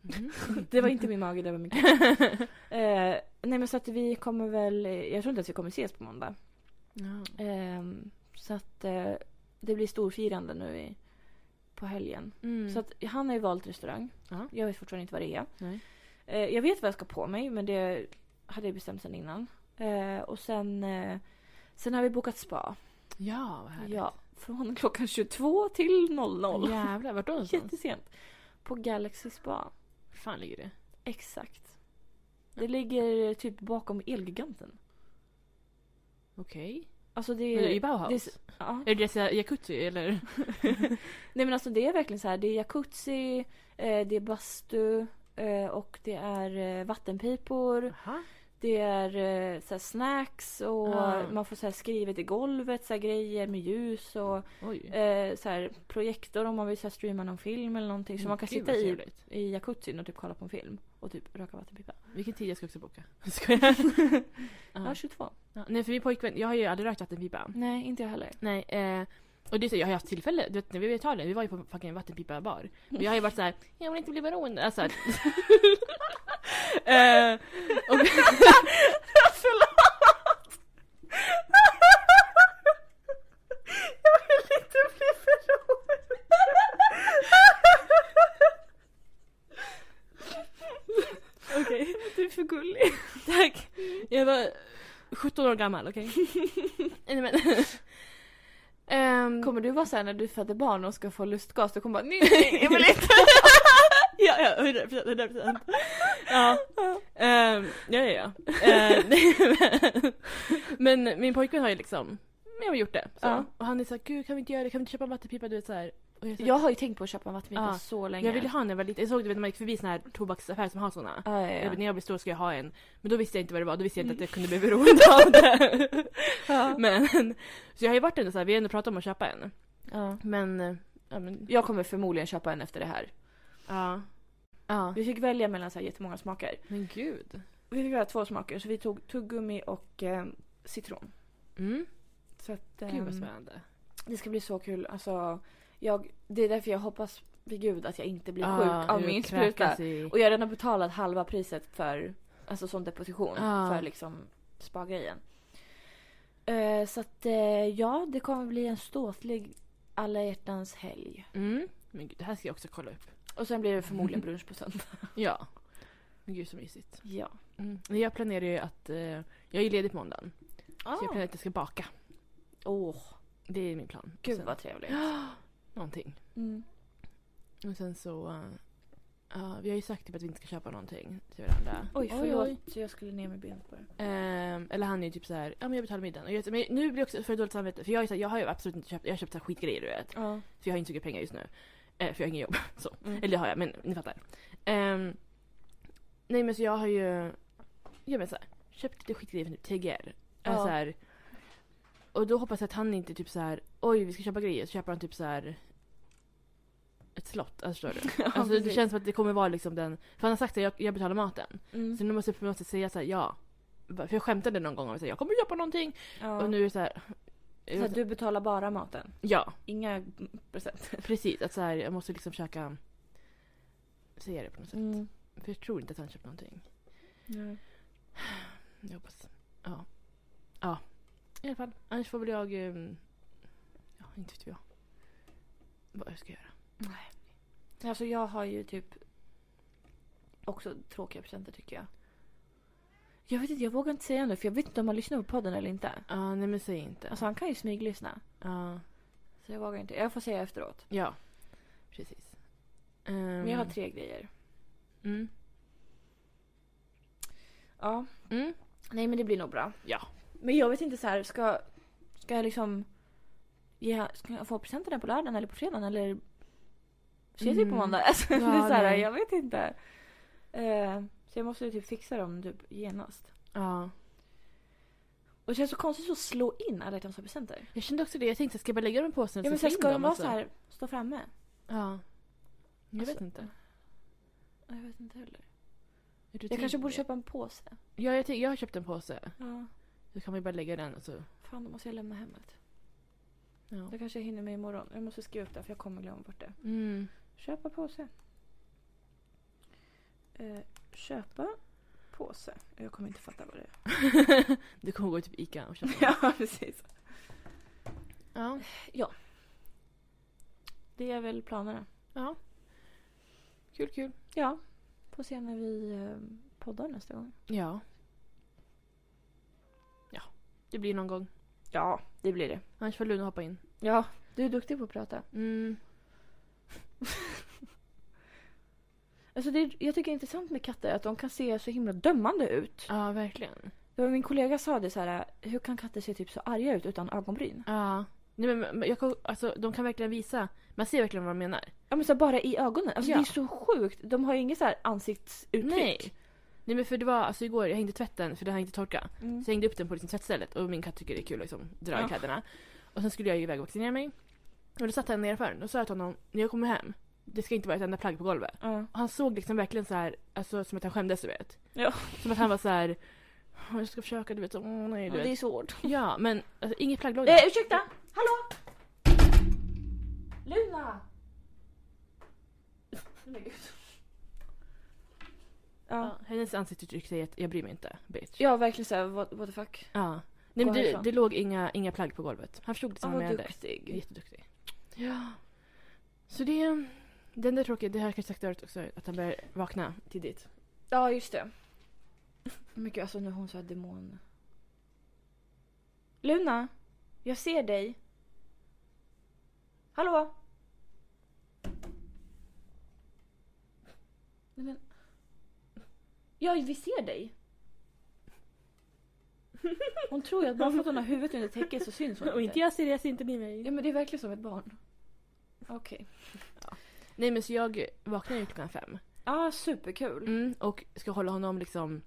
Speaker 2: Mhm.
Speaker 1: det var inte min mage, det var min kropp. eh, Nej men så att vi kommer väl, jag tror inte att vi kommer ses på måndag.
Speaker 2: Ja.
Speaker 1: Ehm, så att eh, det blir storfirande nu i, på helgen.
Speaker 2: Mm.
Speaker 1: Så att han har ju valt restaurang.
Speaker 2: Ja.
Speaker 1: Jag vet fortfarande inte vad det är.
Speaker 2: Nej.
Speaker 1: Eh, jag vet vad jag ska på mig men det hade jag bestämt sedan innan. Eh, och sen, eh, sen har vi bokat spa.
Speaker 2: Ja, vad härligt.
Speaker 1: Ja, från klockan 22 till 00.
Speaker 2: Jävlar, vart då någonstans?
Speaker 1: Jättesent. På Galaxy Spa.
Speaker 2: Var fan ligger det?
Speaker 1: eh, Exakt. Det ligger typ bakom Elgiganten.
Speaker 2: Okej.
Speaker 1: Alltså det
Speaker 2: Men
Speaker 1: är...
Speaker 2: är det i Bauhaus?
Speaker 1: det är s- ja.
Speaker 2: Är det Jessica Jacuzzi eller?
Speaker 1: Nej men alltså det är verkligen så här. Det är jacuzzi, eh, det är bastu eh, och det är eh, vattenpipor.
Speaker 2: Aha.
Speaker 1: Det är eh, så här snacks och
Speaker 2: Ah.
Speaker 1: man får så här skrivet i golvet så här grejer med ljus och
Speaker 2: Oj.
Speaker 1: eh, så här projektor om man vill så här, streama någon film eller någonting. Så man kan
Speaker 2: Gud,
Speaker 1: sitta
Speaker 2: vad
Speaker 1: i,
Speaker 2: trevligt.
Speaker 1: i jacuzzin och typ kolla på en film och typ röka vattenpipa.
Speaker 2: Vilken tid jag ska också boka. Skojar.
Speaker 1: Ja,
Speaker 2: Ja.
Speaker 1: 22.
Speaker 2: Ja, Nej för min pojkvän, jag har ju aldrig rökt vattenpipa.
Speaker 1: Nej, inte jag heller.
Speaker 2: Nej, eh, och det är så, jag har ju haft tillfälle, du vet när vi var i Italien, vi var ju på fucking vattenpipa-bar. Och jag har ju varit såhär, jag vill inte bli beroende. Alltså, att- eh, och,
Speaker 1: Förlåt! Jag vill inte bli beroende. Okej. Du är för gullig.
Speaker 2: tack! Jag var 17 år gammal, okej? Nej men. Ehm,
Speaker 1: Kommer du vara såhär när du föder barn och ska få lustgas? Du kommer bara nej, nej jag vill inte.
Speaker 2: ja, ja, 100%, 100%. Ja. Ehm, ja, ja, ja. Ehm, men, men min pojkvän har ju liksom, jag har gjort det. Så.
Speaker 1: Ja.
Speaker 2: Och han är såhär, gud kan vi inte göra det, kan vi inte köpa en vattenpipa? Du vet såhär. Och jag, är så här,
Speaker 1: Jag har ju tänkt på att köpa en vattenpipa
Speaker 2: Ja.
Speaker 1: så länge.
Speaker 2: jag ville ha en när jag var liten. Jag såg du vet, när man gick förbi såna här tobaksaffärer som har såna.
Speaker 1: Ja, ja,
Speaker 2: Jag
Speaker 1: ja.
Speaker 2: bara, när jag blir stor ska jag ha en. Men då visste jag inte vad det var, då visste jag inte att jag kunde bli beroende av det.
Speaker 1: Ja.
Speaker 2: Men, så jag har ju varit ändå såhär, vi har ändå pratat om att köpa en.
Speaker 1: Ja.
Speaker 2: Men, eh, ja men,
Speaker 1: Jag kommer förmodligen köpa en efter det här.
Speaker 2: ja. Ja.
Speaker 1: Vi fick välja mellan så här jättemånga smaker.
Speaker 2: Men gud.
Speaker 1: Vi fick göra två smaker så vi tog tuggummi och eh, citron.
Speaker 2: Mm.
Speaker 1: Så att,
Speaker 2: Gud vad
Speaker 1: ehm,
Speaker 2: spännande.
Speaker 1: det ska bli så kul. Alltså, jag, det är därför jag hoppas vid gud att jag inte blir
Speaker 2: Ah,
Speaker 1: sjuk av
Speaker 2: hur
Speaker 1: min
Speaker 2: kräkas
Speaker 1: spruta.
Speaker 2: i-
Speaker 1: Och jag har redan betalat halva priset för, alltså som deposition
Speaker 2: Ah.
Speaker 1: för liksom spa-grejen. Eh, så att eh, ja, det kommer bli en ståtlig alla hjärtans helg.
Speaker 2: Mm. Men gud, det här ska jag också kolla upp.
Speaker 1: Och sen blir det förmodligen brunch på söndag.
Speaker 2: Ja. Men gud så mysigt.
Speaker 1: Ja.
Speaker 2: Mm. Men Jag planerar ju att, eh, jag är ledig på måndagen.
Speaker 1: Ah.
Speaker 2: Så jag planerar att jag ska baka.
Speaker 1: Åh,
Speaker 2: Det är min plan. Och
Speaker 1: gud
Speaker 2: sen
Speaker 1: vad trevligt.
Speaker 2: Någonting.
Speaker 1: Mm.
Speaker 2: Och sen så... eh, ja, vi har ju sagt typ att vi inte ska köpa någonting till varandra.
Speaker 1: Oj, förlåt. Jag skulle ner med benet bara.
Speaker 2: Ehm, eller han är ju typ så här, ja men jag betalar middagen. Och jag, men nu blir jag också för dåligt samvete. För jag, är så här, jag har ju absolut inte köpt, jag har köpt så här skitgrejer du vet.
Speaker 1: Ja.
Speaker 2: För jag har inte så mycket pengar just nu. Eh, för jag har inget jobb. Så.
Speaker 1: Mm.
Speaker 2: Eller det har jag, men ni fattar. Ehm, nej men så jag har ju, ja men så här, köpt lite skitgrejer från typ TGR.
Speaker 1: Ja.
Speaker 2: Ja. Så här, och då hoppas jag att han inte typ så här, oj vi ska köpa grejer. Så köper han typ så här ett slott, alltså förstår du?
Speaker 1: Ja,
Speaker 2: Alltså det
Speaker 1: precis.
Speaker 2: känns som att det kommer vara liksom den, för han har sagt att jag, jag betalar maten.
Speaker 1: Mm.
Speaker 2: Så nu måste jag på något sätt säga så här, ja. För jag skämtade någon gång om att jag kommer köpa någonting.
Speaker 1: Ja.
Speaker 2: Och nu är det så här.
Speaker 1: så att du betalar bara maten?
Speaker 2: Ja,
Speaker 1: Inga present?
Speaker 2: precis. Att så här, jag måste liksom försöka säga det på något sätt.
Speaker 1: Mm.
Speaker 2: För jag tror inte att han köpt någonting.
Speaker 1: Nej.
Speaker 2: Jag hoppas. Ja. Ja. I alla fall. Annars får väl jag... ehm, Ja, inte vet jag. Vad jag ska göra.
Speaker 1: Alltså jag har ju typ också tråkiga presenter tycker jag. Jag vet inte, jag vågar inte säga nu för jag vet inte om han lyssnar på podden eller inte.
Speaker 2: Ja, nej men säg inte.
Speaker 1: Alltså han kan ju smyglyssna.
Speaker 2: Ja.
Speaker 1: Så jag vågar inte. Jag får säga efteråt.
Speaker 2: ja. Precis. Ehm,
Speaker 1: Men jag har tre grejer.
Speaker 2: Mm.
Speaker 1: Ja.
Speaker 2: Mm.
Speaker 1: Nej men det blir nog bra.
Speaker 2: Ja.
Speaker 1: Men jag vet inte så här, ska, ska jag liksom ge, ska jag få presenterna på lördagen eller på fredagen eller ses vi på
Speaker 2: Mm.
Speaker 1: måndag? Alltså,
Speaker 2: Ja,
Speaker 1: det är så här,
Speaker 2: nej.
Speaker 1: jag vet inte. Eh, så jag måste ju typ fixa dem typ genast.
Speaker 2: Ja.
Speaker 1: Och det känns så konstigt att slå in alla hjärtans presenter.
Speaker 2: Jag kände också det. Jag tänkte, ska jag bara lägga dem i påsen?
Speaker 1: Ja men så
Speaker 2: slå
Speaker 1: här,
Speaker 2: in
Speaker 1: ska de
Speaker 2: dem
Speaker 1: vara
Speaker 2: och
Speaker 1: så här, stå framme?
Speaker 2: alltså? Ja. Jag
Speaker 1: Alltså,
Speaker 2: vet inte.
Speaker 1: Ja, Jag vet inte heller.
Speaker 2: Hur du
Speaker 1: Jag kanske
Speaker 2: tänker.
Speaker 1: borde köpa en påse.
Speaker 2: Ja, jag, tänk- jag har köpt en påse.
Speaker 1: Ja.
Speaker 2: Då kan man ju bara lägga den och så...
Speaker 1: Fan, då måste jag lämna hemmet.
Speaker 2: Ja.
Speaker 1: Det kanske jag hinner med imorgon. Jag måste skriva upp det för jag kommer glömma bort det.
Speaker 2: Mm.
Speaker 1: Köpa påse. Eh, köpa påse. Jag kommer inte fatta vad det är.
Speaker 2: du kommer gå till typ Ica och köpa den.
Speaker 1: ja, precis.
Speaker 2: ja.
Speaker 1: Det är väl planerna.
Speaker 2: ja. Kul, kul.
Speaker 1: Ja. Får se när vi eh, poddar nästa gång.
Speaker 2: Ja. Ja. Det blir någon gång.
Speaker 1: Ja, det blir det.
Speaker 2: Annars får Luna hoppa in.
Speaker 1: Ja, du är duktig på att prata.
Speaker 2: Mm.
Speaker 1: Alltså det är, jag tycker det är intressant med katter att de kan se så himla dömande ut.
Speaker 2: Ja, verkligen.
Speaker 1: Det var min kollega sa det så här, hur kan katter se typ så arga ut utan ögonbryn?
Speaker 2: Ja. Nej, men men jag, kan- alltså, de kan verkligen visa. Man ser verkligen vad de menar.
Speaker 1: Ja men så här, bara i ögonen. Alltså
Speaker 2: Ja.
Speaker 1: det är så sjukt. De har ju inget så här ansiktsuttryck.
Speaker 2: Nej. Nej men för det var alltså igår, jag hängde tvätten för det här inte torka.
Speaker 1: Mm.
Speaker 2: Så jag hängde upp den på liksom, tvättstället och min katt tycker det är kul att liksom, dra i
Speaker 1: Ja.
Speaker 2: kläderna. Och sen skulle jag ju iväg och vaccinera mig. Och då satt han nedanför den och sa jag till honom, när jag kommer hem, det ska inte vara ett enda plagg på golvet.
Speaker 1: Ja.
Speaker 2: Och han såg liksom verkligen så här, alltså som att han skämdes du vet.
Speaker 1: Ja.
Speaker 2: Som att han var så här, "Åh, jag ska försöka du vet, åh nej
Speaker 1: Ja,
Speaker 2: du
Speaker 1: det är
Speaker 2: vet.
Speaker 1: svårt.
Speaker 2: Ja men alltså, inget plagg låg där.
Speaker 1: Eh, ursäkta! Hallå! Luna!
Speaker 2: Nej, gud.
Speaker 1: Ja,
Speaker 2: Ja, hennes ansiktsuttryck säger att jag bryr mig inte bitch.
Speaker 1: ja verkligen såhär what, what the fuck.
Speaker 2: Ja. Nej men
Speaker 1: Gå
Speaker 2: det,
Speaker 1: härifrån.
Speaker 2: det låg inga, inga plagg på golvet. Han förstod det som
Speaker 1: Ja,
Speaker 2: han
Speaker 1: vad
Speaker 2: menade.
Speaker 1: duktig.
Speaker 2: Jätteduktig. Ja. Så det... Den där tråkiga, det har jag kanske sagt förut också, att han börjar vakna tidigt.
Speaker 1: Ja just det. Men gud alltså nu har hon såhär demon... Luna! Jag ser dig. Hallå! Nej men... Ja vi ser dig! Hon tror ju att bara för att hon har huvudet under täcket så syns hon
Speaker 2: jag ser det, jag ser inte ni
Speaker 1: Ja
Speaker 2: mig.
Speaker 1: men det är verkligen som ett barn. Okej.
Speaker 2: Nej men så jag vaknar ju klockan fem.
Speaker 1: Ja, superkul.
Speaker 2: Mm, och ska hålla honom liksom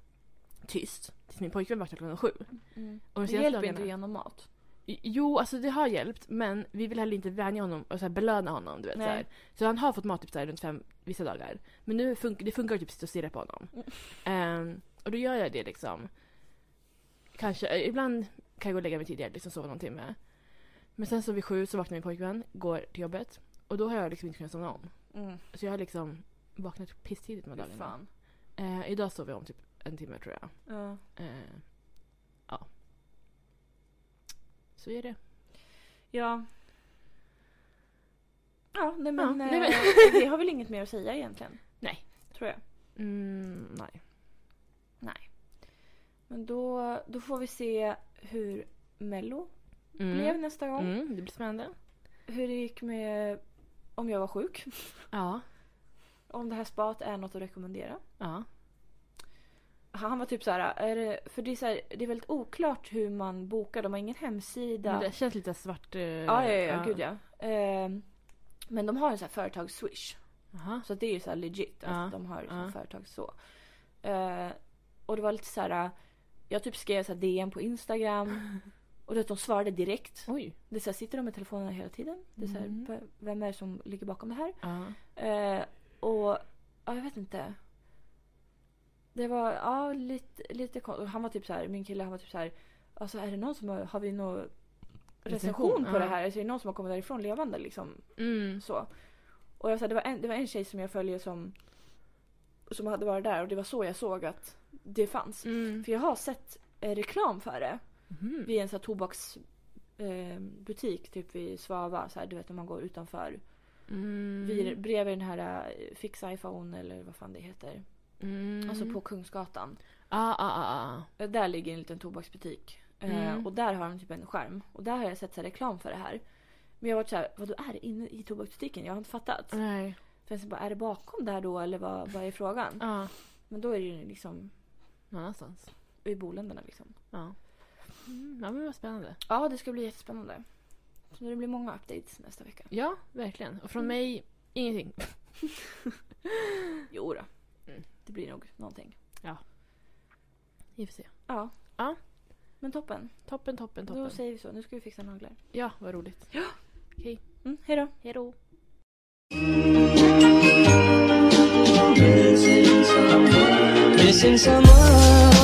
Speaker 2: tyst. Tills min pojkvän vaknar klockan sju.
Speaker 1: Mm.
Speaker 2: Och de
Speaker 1: Det
Speaker 2: senaste
Speaker 1: hjälper
Speaker 2: dagarna-
Speaker 1: inte genom mat.
Speaker 2: Jo, alltså det har hjälpt men vi vill heller inte vänja honom och så här belöna honom. Du vet, så,
Speaker 1: Nej.
Speaker 2: här. så han har fått mat typ så här, runt fem vissa dagar. Men nu funkar det funkar typ att sitta och stirra på honom.
Speaker 1: Mm.
Speaker 2: Ehm, och då gör jag det liksom. Kanske, eh, ibland kan jag gå och lägga mig tidigare, liksom sova någon timme. Men sen så vid sju så vaknar min pojkvän, går till jobbet. Och då har jag liksom inte kunnat somna om.
Speaker 1: Mm.
Speaker 2: Så jag har liksom vaknat pisstidigt med
Speaker 1: Fy
Speaker 2: dagarna.
Speaker 1: fan.
Speaker 2: Eh, idag sov jag om typ en timme tror jag.
Speaker 1: Ja.
Speaker 2: Eh, ja. Så är det.
Speaker 1: Ja. Ja, nej men,
Speaker 2: Ja, nej, men-
Speaker 1: eh, vi har väl inget mer att säga egentligen.
Speaker 2: Nej.
Speaker 1: Tror jag.
Speaker 2: Mm, nej.
Speaker 1: Men då, då får vi se hur Mello
Speaker 2: Mm.
Speaker 1: blev nästa gång.
Speaker 2: Mm, det blir spännande.
Speaker 1: Hur det gick med om jag var sjuk.
Speaker 2: Ja.
Speaker 1: Om det här spat är något att rekommendera.
Speaker 2: Ja.
Speaker 1: Han var typ så här, är det, för det är, så här, det är väldigt oklart hur man bokar. De har ingen hemsida.
Speaker 2: Men det känns lite svart... eh,
Speaker 1: Ja, ja, ja, gud ja. Ehm, men de har en sån här företags-swish.
Speaker 2: Jaha.
Speaker 1: Så att det är ju så här legit. Alltså,
Speaker 2: Ja,
Speaker 1: De har liksom
Speaker 2: ja.
Speaker 1: företag så. Eh, och det var lite så här. Jag typ skrev så här DM på Instagram. Och du vet, de svarade direkt.
Speaker 2: Oj.
Speaker 1: Det är så här, sitter de med telefonen hela tiden? Det är så här,
Speaker 2: Mm.
Speaker 1: "V- Vem är det som ligger bakom det här?
Speaker 2: Ja.
Speaker 1: Eh, och ja, jag vet inte. Det var ja, lite, lite kon- och Han var typ så här, min kille han var typ så här. Alltså är det någon som har, har vi någon recension
Speaker 2: Recension,
Speaker 1: på
Speaker 2: ja.
Speaker 1: det här? Alltså, är det någon som har kommit därifrån levande liksom?
Speaker 2: Mm.
Speaker 1: Så. Och jag, så här, det, var en, det var en tjej som jag följer som, som hade varit där och det var så jag såg att det fanns.
Speaker 2: Mm.
Speaker 1: För jag har sett eh, reklam för det
Speaker 2: Mhm.
Speaker 1: vid en så här, tobaksbutik eh, butik, typ vid Svava. Så här, du vet när man går utanför.
Speaker 2: Mm.
Speaker 1: Vid, bredvid den här eh, Fix iPhone eller vad fan det heter.
Speaker 2: Mm.
Speaker 1: Alltså på Kungsgatan.
Speaker 2: Ah, ah, ah, ah.
Speaker 1: Eh, Där ligger en liten tobaksbutik. Eh,
Speaker 2: Mm.
Speaker 1: Och där har de typ en skärm. Och där har jag sett så här, reklam för det här. Men jag har varit såhär, vadå är det inne i tobaksbutiken? Jag har inte fattat.
Speaker 2: Nej.
Speaker 1: För jag bara, är det bakom där då eller vad, vad är frågan?
Speaker 2: Ja.
Speaker 1: Men då är det ju liksom
Speaker 2: Någon annanstans.
Speaker 1: i boländerna liksom.
Speaker 2: Ja. Mm. Ja men vad spännande.
Speaker 1: Ja, det ska bli jättespännande. Så det blir många updates nästa vecka.
Speaker 2: Ja, verkligen.
Speaker 1: Mm.
Speaker 2: Och från mig, ingenting.
Speaker 1: Jo då.
Speaker 2: Mm.
Speaker 1: Det blir nog någonting.
Speaker 2: Vi får se.
Speaker 1: Ja.
Speaker 2: Ja.
Speaker 1: Men toppen.
Speaker 2: Toppen, toppen,
Speaker 1: Då
Speaker 2: toppen.
Speaker 1: säger vi så. Nu ska vi fixa naglar.
Speaker 2: Ja, vad roligt.
Speaker 1: Mm, hej då.
Speaker 2: Hejdå.
Speaker 3: Missing someone